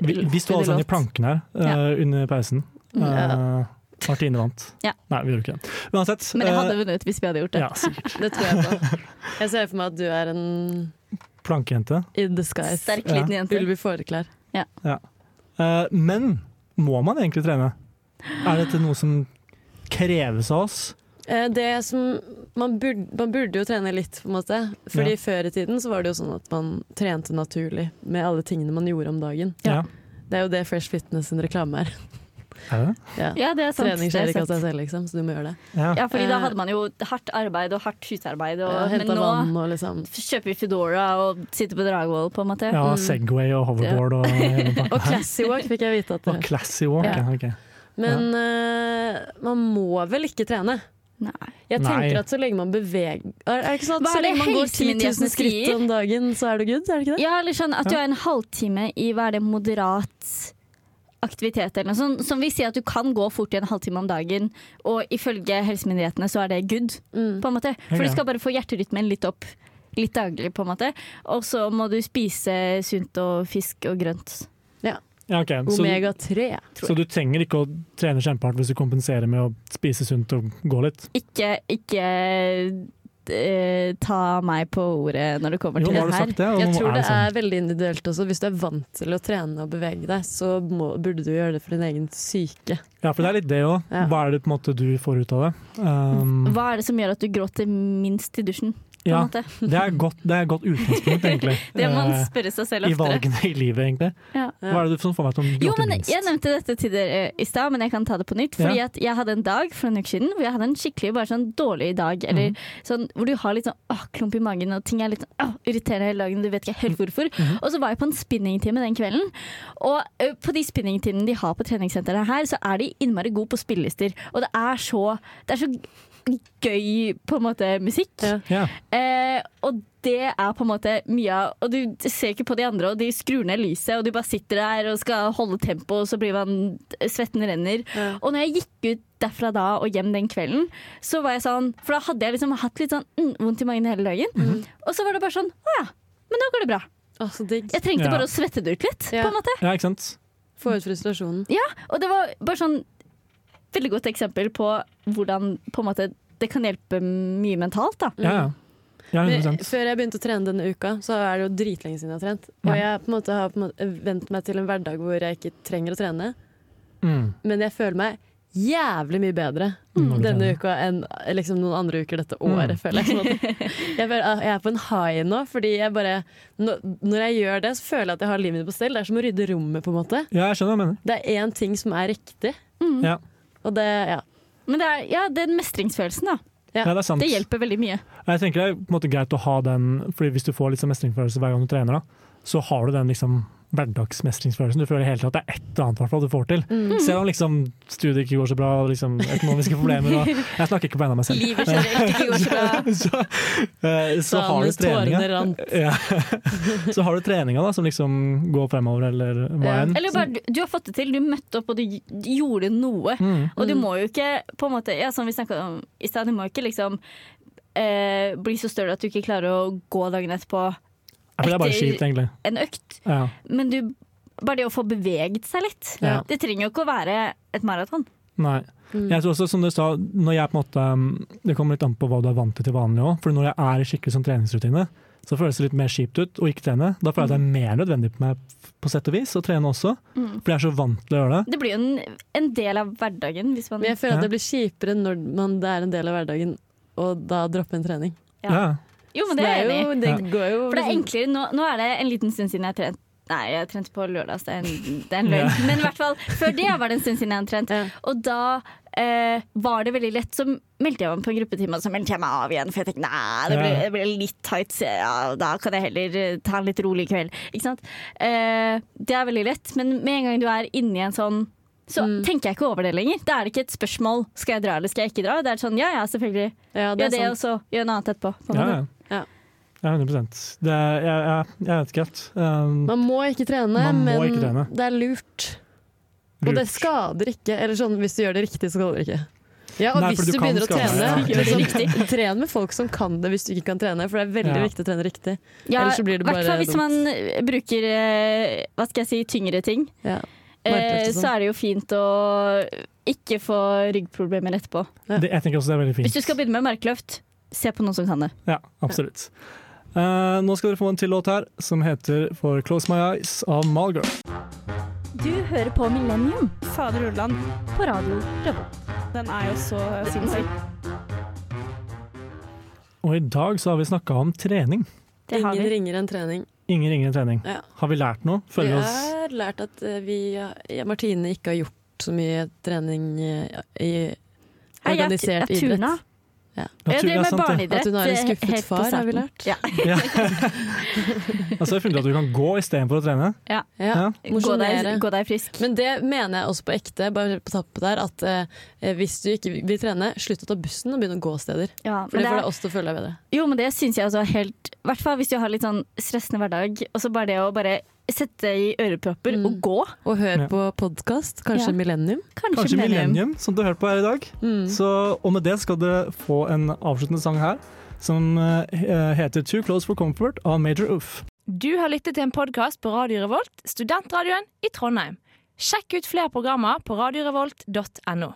Speaker 2: vi, vi sto alle sammen i planken her eh,
Speaker 1: Ja.
Speaker 2: under pausen. Eh, Martine vant.
Speaker 1: Ja.
Speaker 2: Nei, vi gjorde ikke det. Uansett.
Speaker 1: Men jeg hadde
Speaker 2: eh,
Speaker 1: vunnet hvis vi hadde gjort det.
Speaker 2: ja, sikkert.
Speaker 3: Det tror jeg på. Jeg ser for meg at du er en
Speaker 2: Plankejente.
Speaker 3: in the skies.
Speaker 1: Sterk liten jente.
Speaker 3: Ulv i fåreklær.
Speaker 2: Eh, men må man egentlig trene? Er dette noe som kreves av oss?
Speaker 3: Eh, Det som man burde, man burde jo trene litt, på en måte. Fordi
Speaker 2: Ja.
Speaker 3: før i tiden så var det jo sånn at man trente naturlig med alle tingene man gjorde om dagen.
Speaker 2: Ja.
Speaker 3: Det er jo det Fresh Fitness sin reklame er.
Speaker 2: Er det det?
Speaker 3: Ja.
Speaker 1: Ja, det er sant.
Speaker 3: Trening
Speaker 1: det
Speaker 3: skjer
Speaker 1: er
Speaker 3: ikke av
Speaker 1: sant.
Speaker 3: seg selv, liksom, så du må gjøre det.
Speaker 2: Ja.
Speaker 1: Ja, fordi da hadde man jo hardt arbeid og hardt husarbeid, og,
Speaker 3: Og
Speaker 1: men
Speaker 3: Hente
Speaker 1: nå
Speaker 3: Eh, vann og liksom
Speaker 1: kjøper vi Foodora og sitter på Dragvoll, på en måte.
Speaker 2: ja, Segway og hoverboard og hele pakka.
Speaker 3: Og Classy Walk fikk jeg vite at
Speaker 2: Og
Speaker 3: det
Speaker 2: Classy walk, ja. ok.
Speaker 3: Men eh, man må vel ikke trene?
Speaker 1: Nei.
Speaker 3: Jeg
Speaker 2: Nei.
Speaker 3: tenker at så lenge man beveger er, er det ikke sånn at
Speaker 1: Hva er
Speaker 3: Så
Speaker 1: det
Speaker 3: lenge man går 10
Speaker 1: helsemyndighetene
Speaker 3: 000 skritt
Speaker 1: sier?
Speaker 3: om dagen, så er du good? Er det ikke det?
Speaker 1: Ja, eller sånn at du er en halvtime i hva er det moderat aktivitet eller noe sånt. Som vil si at du kan gå fort i en halvtime om dagen, og ifølge helsemyndighetene så er det good,
Speaker 3: Mm.
Speaker 1: på en måte. For
Speaker 2: Ja.
Speaker 1: du skal bare få hjerterytmen litt opp. Litt daglig, på en måte. Og så må du spise sunt og fisk og grønt.
Speaker 2: Ja, ok. Så,
Speaker 3: Omega-3.
Speaker 2: så du trenger ikke å trene kjempehardt hvis du kompenserer med å spise sunt og gå litt?
Speaker 1: Ikke, ikke eh, ta meg på ordet når det kommer
Speaker 2: Jo,
Speaker 1: til
Speaker 2: nå har
Speaker 1: det
Speaker 2: du
Speaker 1: her.
Speaker 2: sagt det, og
Speaker 3: Jeg
Speaker 2: nå
Speaker 3: tror
Speaker 2: er
Speaker 3: det
Speaker 2: det sånn.
Speaker 3: er veldig individuelt også. Hvis du er vant til å trene og bevege deg, så må, burde du gjøre det for din egen syke.
Speaker 2: Ja, for det er litt det òg.
Speaker 3: Ja.
Speaker 2: Hva er det på en måte du får ut av det? Um,
Speaker 1: Hva er det som gjør at du gråter minst i dusjen? På en
Speaker 2: ja,
Speaker 1: måte?
Speaker 2: det er godt, det er godt utgangspunkt, egentlig.
Speaker 1: Det må man
Speaker 2: Eh,
Speaker 1: spørre seg selv
Speaker 2: I
Speaker 1: oftere.
Speaker 2: valgene i livet, egentlig.
Speaker 1: Ja.
Speaker 2: Hva er det som får meg til å
Speaker 1: Jo,
Speaker 2: gråte
Speaker 1: men
Speaker 2: minst?
Speaker 1: Jeg nevnte dette til dere i stad, men jeg kan ta det på nytt. Fordi
Speaker 2: Ja.
Speaker 1: at Jeg hadde en dag for en uke siden hvor jeg hadde en skikkelig bare sånn dårlig dag. Eller sånn, hvor du har litt sånn åh, klump i magen, og ting er litt sånn, åh, irriterende hele dagen. Du vet ikke helt hvorfor. Og så var jeg på en spinningtime den kvelden. Og ø, på de spinningtimene de har på treningssenteret her, så er de innmari gode på spillelister. Og det er så, det er så gøy, på en måte, musikk.
Speaker 3: Ja.
Speaker 2: Ja.
Speaker 1: Eh, og det er på en måte mye av Og du ser ikke på de andre, og de skrur ned lyset, og du bare sitter der og skal holde tempo, og så blir man Svetten renner.
Speaker 3: Ja.
Speaker 1: Og når jeg gikk ut derfra da og hjem den kvelden, så var jeg sånn For da hadde jeg liksom hatt litt sånn mm, vondt i magen hele dagen.
Speaker 3: Mhm.
Speaker 1: Og så var det bare sånn Å ja, men nå går det bra.
Speaker 3: Å, så digg.
Speaker 1: Jeg trengte
Speaker 2: Ja.
Speaker 1: bare å svette det ut litt,
Speaker 3: Ja.
Speaker 1: på en måte.
Speaker 2: ja, ikke sant?
Speaker 3: Få ut frustrasjonen.
Speaker 1: Og det var bare sånn veldig godt eksempel på hvordan på en måte det kan hjelpe mye mentalt, da.
Speaker 2: Ja, ja. ja
Speaker 3: Men
Speaker 2: 100
Speaker 3: Før jeg begynte å trene denne uka, så er det jo dritlenge siden jeg har trent. Og jeg på en måte har på en måte vent meg til en hverdag hvor jeg ikke trenger å trene.
Speaker 2: mm.
Speaker 3: Men jeg føler meg jævlig mye bedre
Speaker 2: Mm.
Speaker 3: denne uka enn liksom, noen andre uker dette året, føler jeg. Sånn at jeg, føler, at jeg er på en high nå, fordi jeg bare nå- Når jeg gjør det, så føler jeg at jeg har livet mitt på stell. Det er som å rydde rommet, på en måte.
Speaker 2: ja, jeg skjønner hva du mener.
Speaker 3: Det er én ting som er riktig,
Speaker 1: Mm.
Speaker 2: Ja.
Speaker 3: og det Ja.
Speaker 1: Men det er ja, den mestringsfølelsen, da.
Speaker 2: ja, det er sant.
Speaker 1: Det hjelper veldig mye.
Speaker 2: Jeg tenker det er på en måte greit å ha den, fordi hvis du får litt sånn mestringsfølelse hver gang du trener, da, så har du den liksom hverdagsmestringsfølelsen. Du føler hele tiden at det er et eller annet hvertfall du får til.
Speaker 1: Mm.
Speaker 2: Selv om liksom studiet ikke går så bra, og liksom økonomiske problemer og Jeg snakker ikke på vegne av meg selv.
Speaker 1: Livet generelt ikke går så bra.
Speaker 2: Så, eh, så har du
Speaker 3: Damenes tårene
Speaker 2: treninga.
Speaker 3: rant.
Speaker 2: Ja. Så har du treninga da, som liksom går fremover, eller hva
Speaker 3: Ja.
Speaker 2: enn.
Speaker 1: Eller bare, du, du har fått det til, du møtte opp og du gj- gjorde noe.
Speaker 2: Mm.
Speaker 1: Og du må jo ikke, på en måte, ja, som vi snakka om i stad, du må ikke liksom eh, bli så støl at du ikke klarer å gå dagen etterpå
Speaker 2: Ja, for Det er bare
Speaker 1: Etter-
Speaker 2: kjipt, egentlig.
Speaker 1: en økt.
Speaker 2: Ja.
Speaker 1: Men du, bare det å få beveget seg litt.
Speaker 2: Ja.
Speaker 1: Det trenger jo ikke å være et maraton.
Speaker 2: Nei.
Speaker 1: Mm.
Speaker 2: Jeg tror også, som du sa, når jeg på en måte um, Det kommer litt an på hva du er vant til til vanlig òg. For når jeg er i skikkelig sånn treningsrutine, så føles det litt mer kjipt ut å ikke trene. Da føler jeg at
Speaker 1: Mm.
Speaker 2: det er mer nødvendig på meg, på sett og vis, å trene også. For jeg er så vant til å gjøre det.
Speaker 1: Det blir jo en, en del av hverdagen. Hvis man,
Speaker 3: Men jeg føler
Speaker 2: Ja.
Speaker 3: at det blir kjipere når man, det er en del av hverdagen, og da droppe en trening.
Speaker 1: Ja.
Speaker 2: Ja.
Speaker 1: jo,
Speaker 3: Så
Speaker 1: men det er jeg enig i.
Speaker 3: jo, det går jo
Speaker 1: For det er
Speaker 3: liksom-
Speaker 1: enklere, nå, nå er det en liten stund siden jeg har trent. Nei, jeg trente på lørdag, så det er en, det er en løgn. Men i hvert fall, før det var det en stund siden jeg hadde trent.
Speaker 3: Ja.
Speaker 1: Og da eh, var det veldig lett, så meldte jeg meg på en gruppetime, og så meldte jeg meg av igjen. For jeg tenkte nei, det ble,
Speaker 2: Ja.
Speaker 1: det ble litt tight, så ja, da kan jeg heller eh, ta en litt rolig kveld. Ikke sant? Eh, det er veldig lett, men med en gang du er inni en sånn så tenker jeg ikke over det lenger. Da er det ikke et spørsmål skal jeg dra eller skal jeg ikke dra. Det er sånn ja ja, selvfølgelig.
Speaker 3: ja, det
Speaker 1: Gjør
Speaker 3: er
Speaker 1: det, og
Speaker 3: sant.
Speaker 1: så gjør noe annet etterpå. på en
Speaker 2: Ja,
Speaker 1: måte.
Speaker 3: Ja.
Speaker 2: ja. ja 100 det er, jeg, jeg, jeg vet ikke helt. Um,
Speaker 3: Man må ikke trene,
Speaker 2: Man må
Speaker 3: men
Speaker 2: ikke trene.
Speaker 3: det er lurt. Og det
Speaker 2: lurt.
Speaker 3: skader ikke. Eller sånn, hvis du gjør det riktig, så skader det ikke. Ja, og
Speaker 2: Nei, for
Speaker 3: hvis
Speaker 2: du
Speaker 3: du
Speaker 2: kan
Speaker 3: begynner å
Speaker 2: skade
Speaker 3: trene,
Speaker 2: deg.
Speaker 1: Gjør det
Speaker 3: liksom, tren med folk som kan det hvis du ikke kan trene. For det er veldig
Speaker 2: Ja.
Speaker 3: viktig å trene riktig.
Speaker 1: Ja,
Speaker 3: Ellers så blir det
Speaker 1: i hvert
Speaker 3: bare
Speaker 1: fall hvis
Speaker 3: dumt.
Speaker 1: man eh, bruker eh, hva skal jeg si, tyngre ting,
Speaker 3: Ja.
Speaker 1: eh,
Speaker 3: Markløft og
Speaker 1: så
Speaker 3: sånn.
Speaker 1: er det jo fint å ikke få ryggproblemer etterpå.
Speaker 2: det, jeg tenker også det er veldig fint.
Speaker 1: Hvis du skal begynne med markløft, se på noen som kan det.
Speaker 2: Ja, absolutt. Eh, nå skal dere få en til låt her, som heter For Close My Eyes av Malgirl.
Speaker 1: Du hører på Millennium
Speaker 6: Fader Ulland,
Speaker 1: på radio.
Speaker 6: den er jo så sinnssyk.
Speaker 2: Og i dag så har vi snakka om trening.
Speaker 1: Det har
Speaker 3: Ingen
Speaker 1: vi.
Speaker 3: ringer en trening.
Speaker 2: Ingen ringer en trening.
Speaker 3: Ja.
Speaker 2: Har vi lært noe?
Speaker 3: Vi
Speaker 2: Føler vi oss
Speaker 3: har lært at eh, vi, ja, Martine ikke har gjort så mye trening eh, i
Speaker 1: Hei, jeg,
Speaker 3: organisert
Speaker 1: jeg
Speaker 3: idrett.
Speaker 1: tuna. Jeg
Speaker 2: Natur-
Speaker 1: driver
Speaker 2: ja,
Speaker 1: med
Speaker 2: sant det.
Speaker 1: barneidrett.
Speaker 3: At hun er en
Speaker 1: eh,
Speaker 3: skuffet
Speaker 1: helt på
Speaker 3: far, har vi
Speaker 1: starten.
Speaker 3: lært.
Speaker 1: Ja.
Speaker 2: Ja. altså, jeg funnet at du kan gå istedenfor å trene. Ja.
Speaker 1: Gå, deg,
Speaker 3: Mosjonere.
Speaker 1: gå deg frisk.
Speaker 3: Men det mener jeg også på ekte, bare på tappet der, at eh, hvis du ikke vil trene, slutt å ta bussen og begynn å gå steder.
Speaker 1: Ja,
Speaker 3: For det
Speaker 1: men det
Speaker 3: får
Speaker 1: er,
Speaker 3: deg også til å føle deg bedre.
Speaker 1: jo, men det syns jeg også er helt I hvert fall hvis du har litt sånn stressende hverdag, og så bare det å bare sette i ørepropper og gå.
Speaker 3: Og hør
Speaker 2: Ja.
Speaker 3: på podkast, kanskje
Speaker 1: Ja.
Speaker 3: Millennium.
Speaker 1: Kanskje,
Speaker 2: Kanskje Millennium, som du har hørt på her i dag.
Speaker 1: Mm.
Speaker 2: Så, og med det skal dere få en avsluttende sang her, som eh, heter 'Too Close for Comfort' av Major Oof.
Speaker 7: Du har lyttet til en podkast på Radio Revolt, studentradioen i Trondheim. Sjekk ut flere programmer på radiorevolt.no.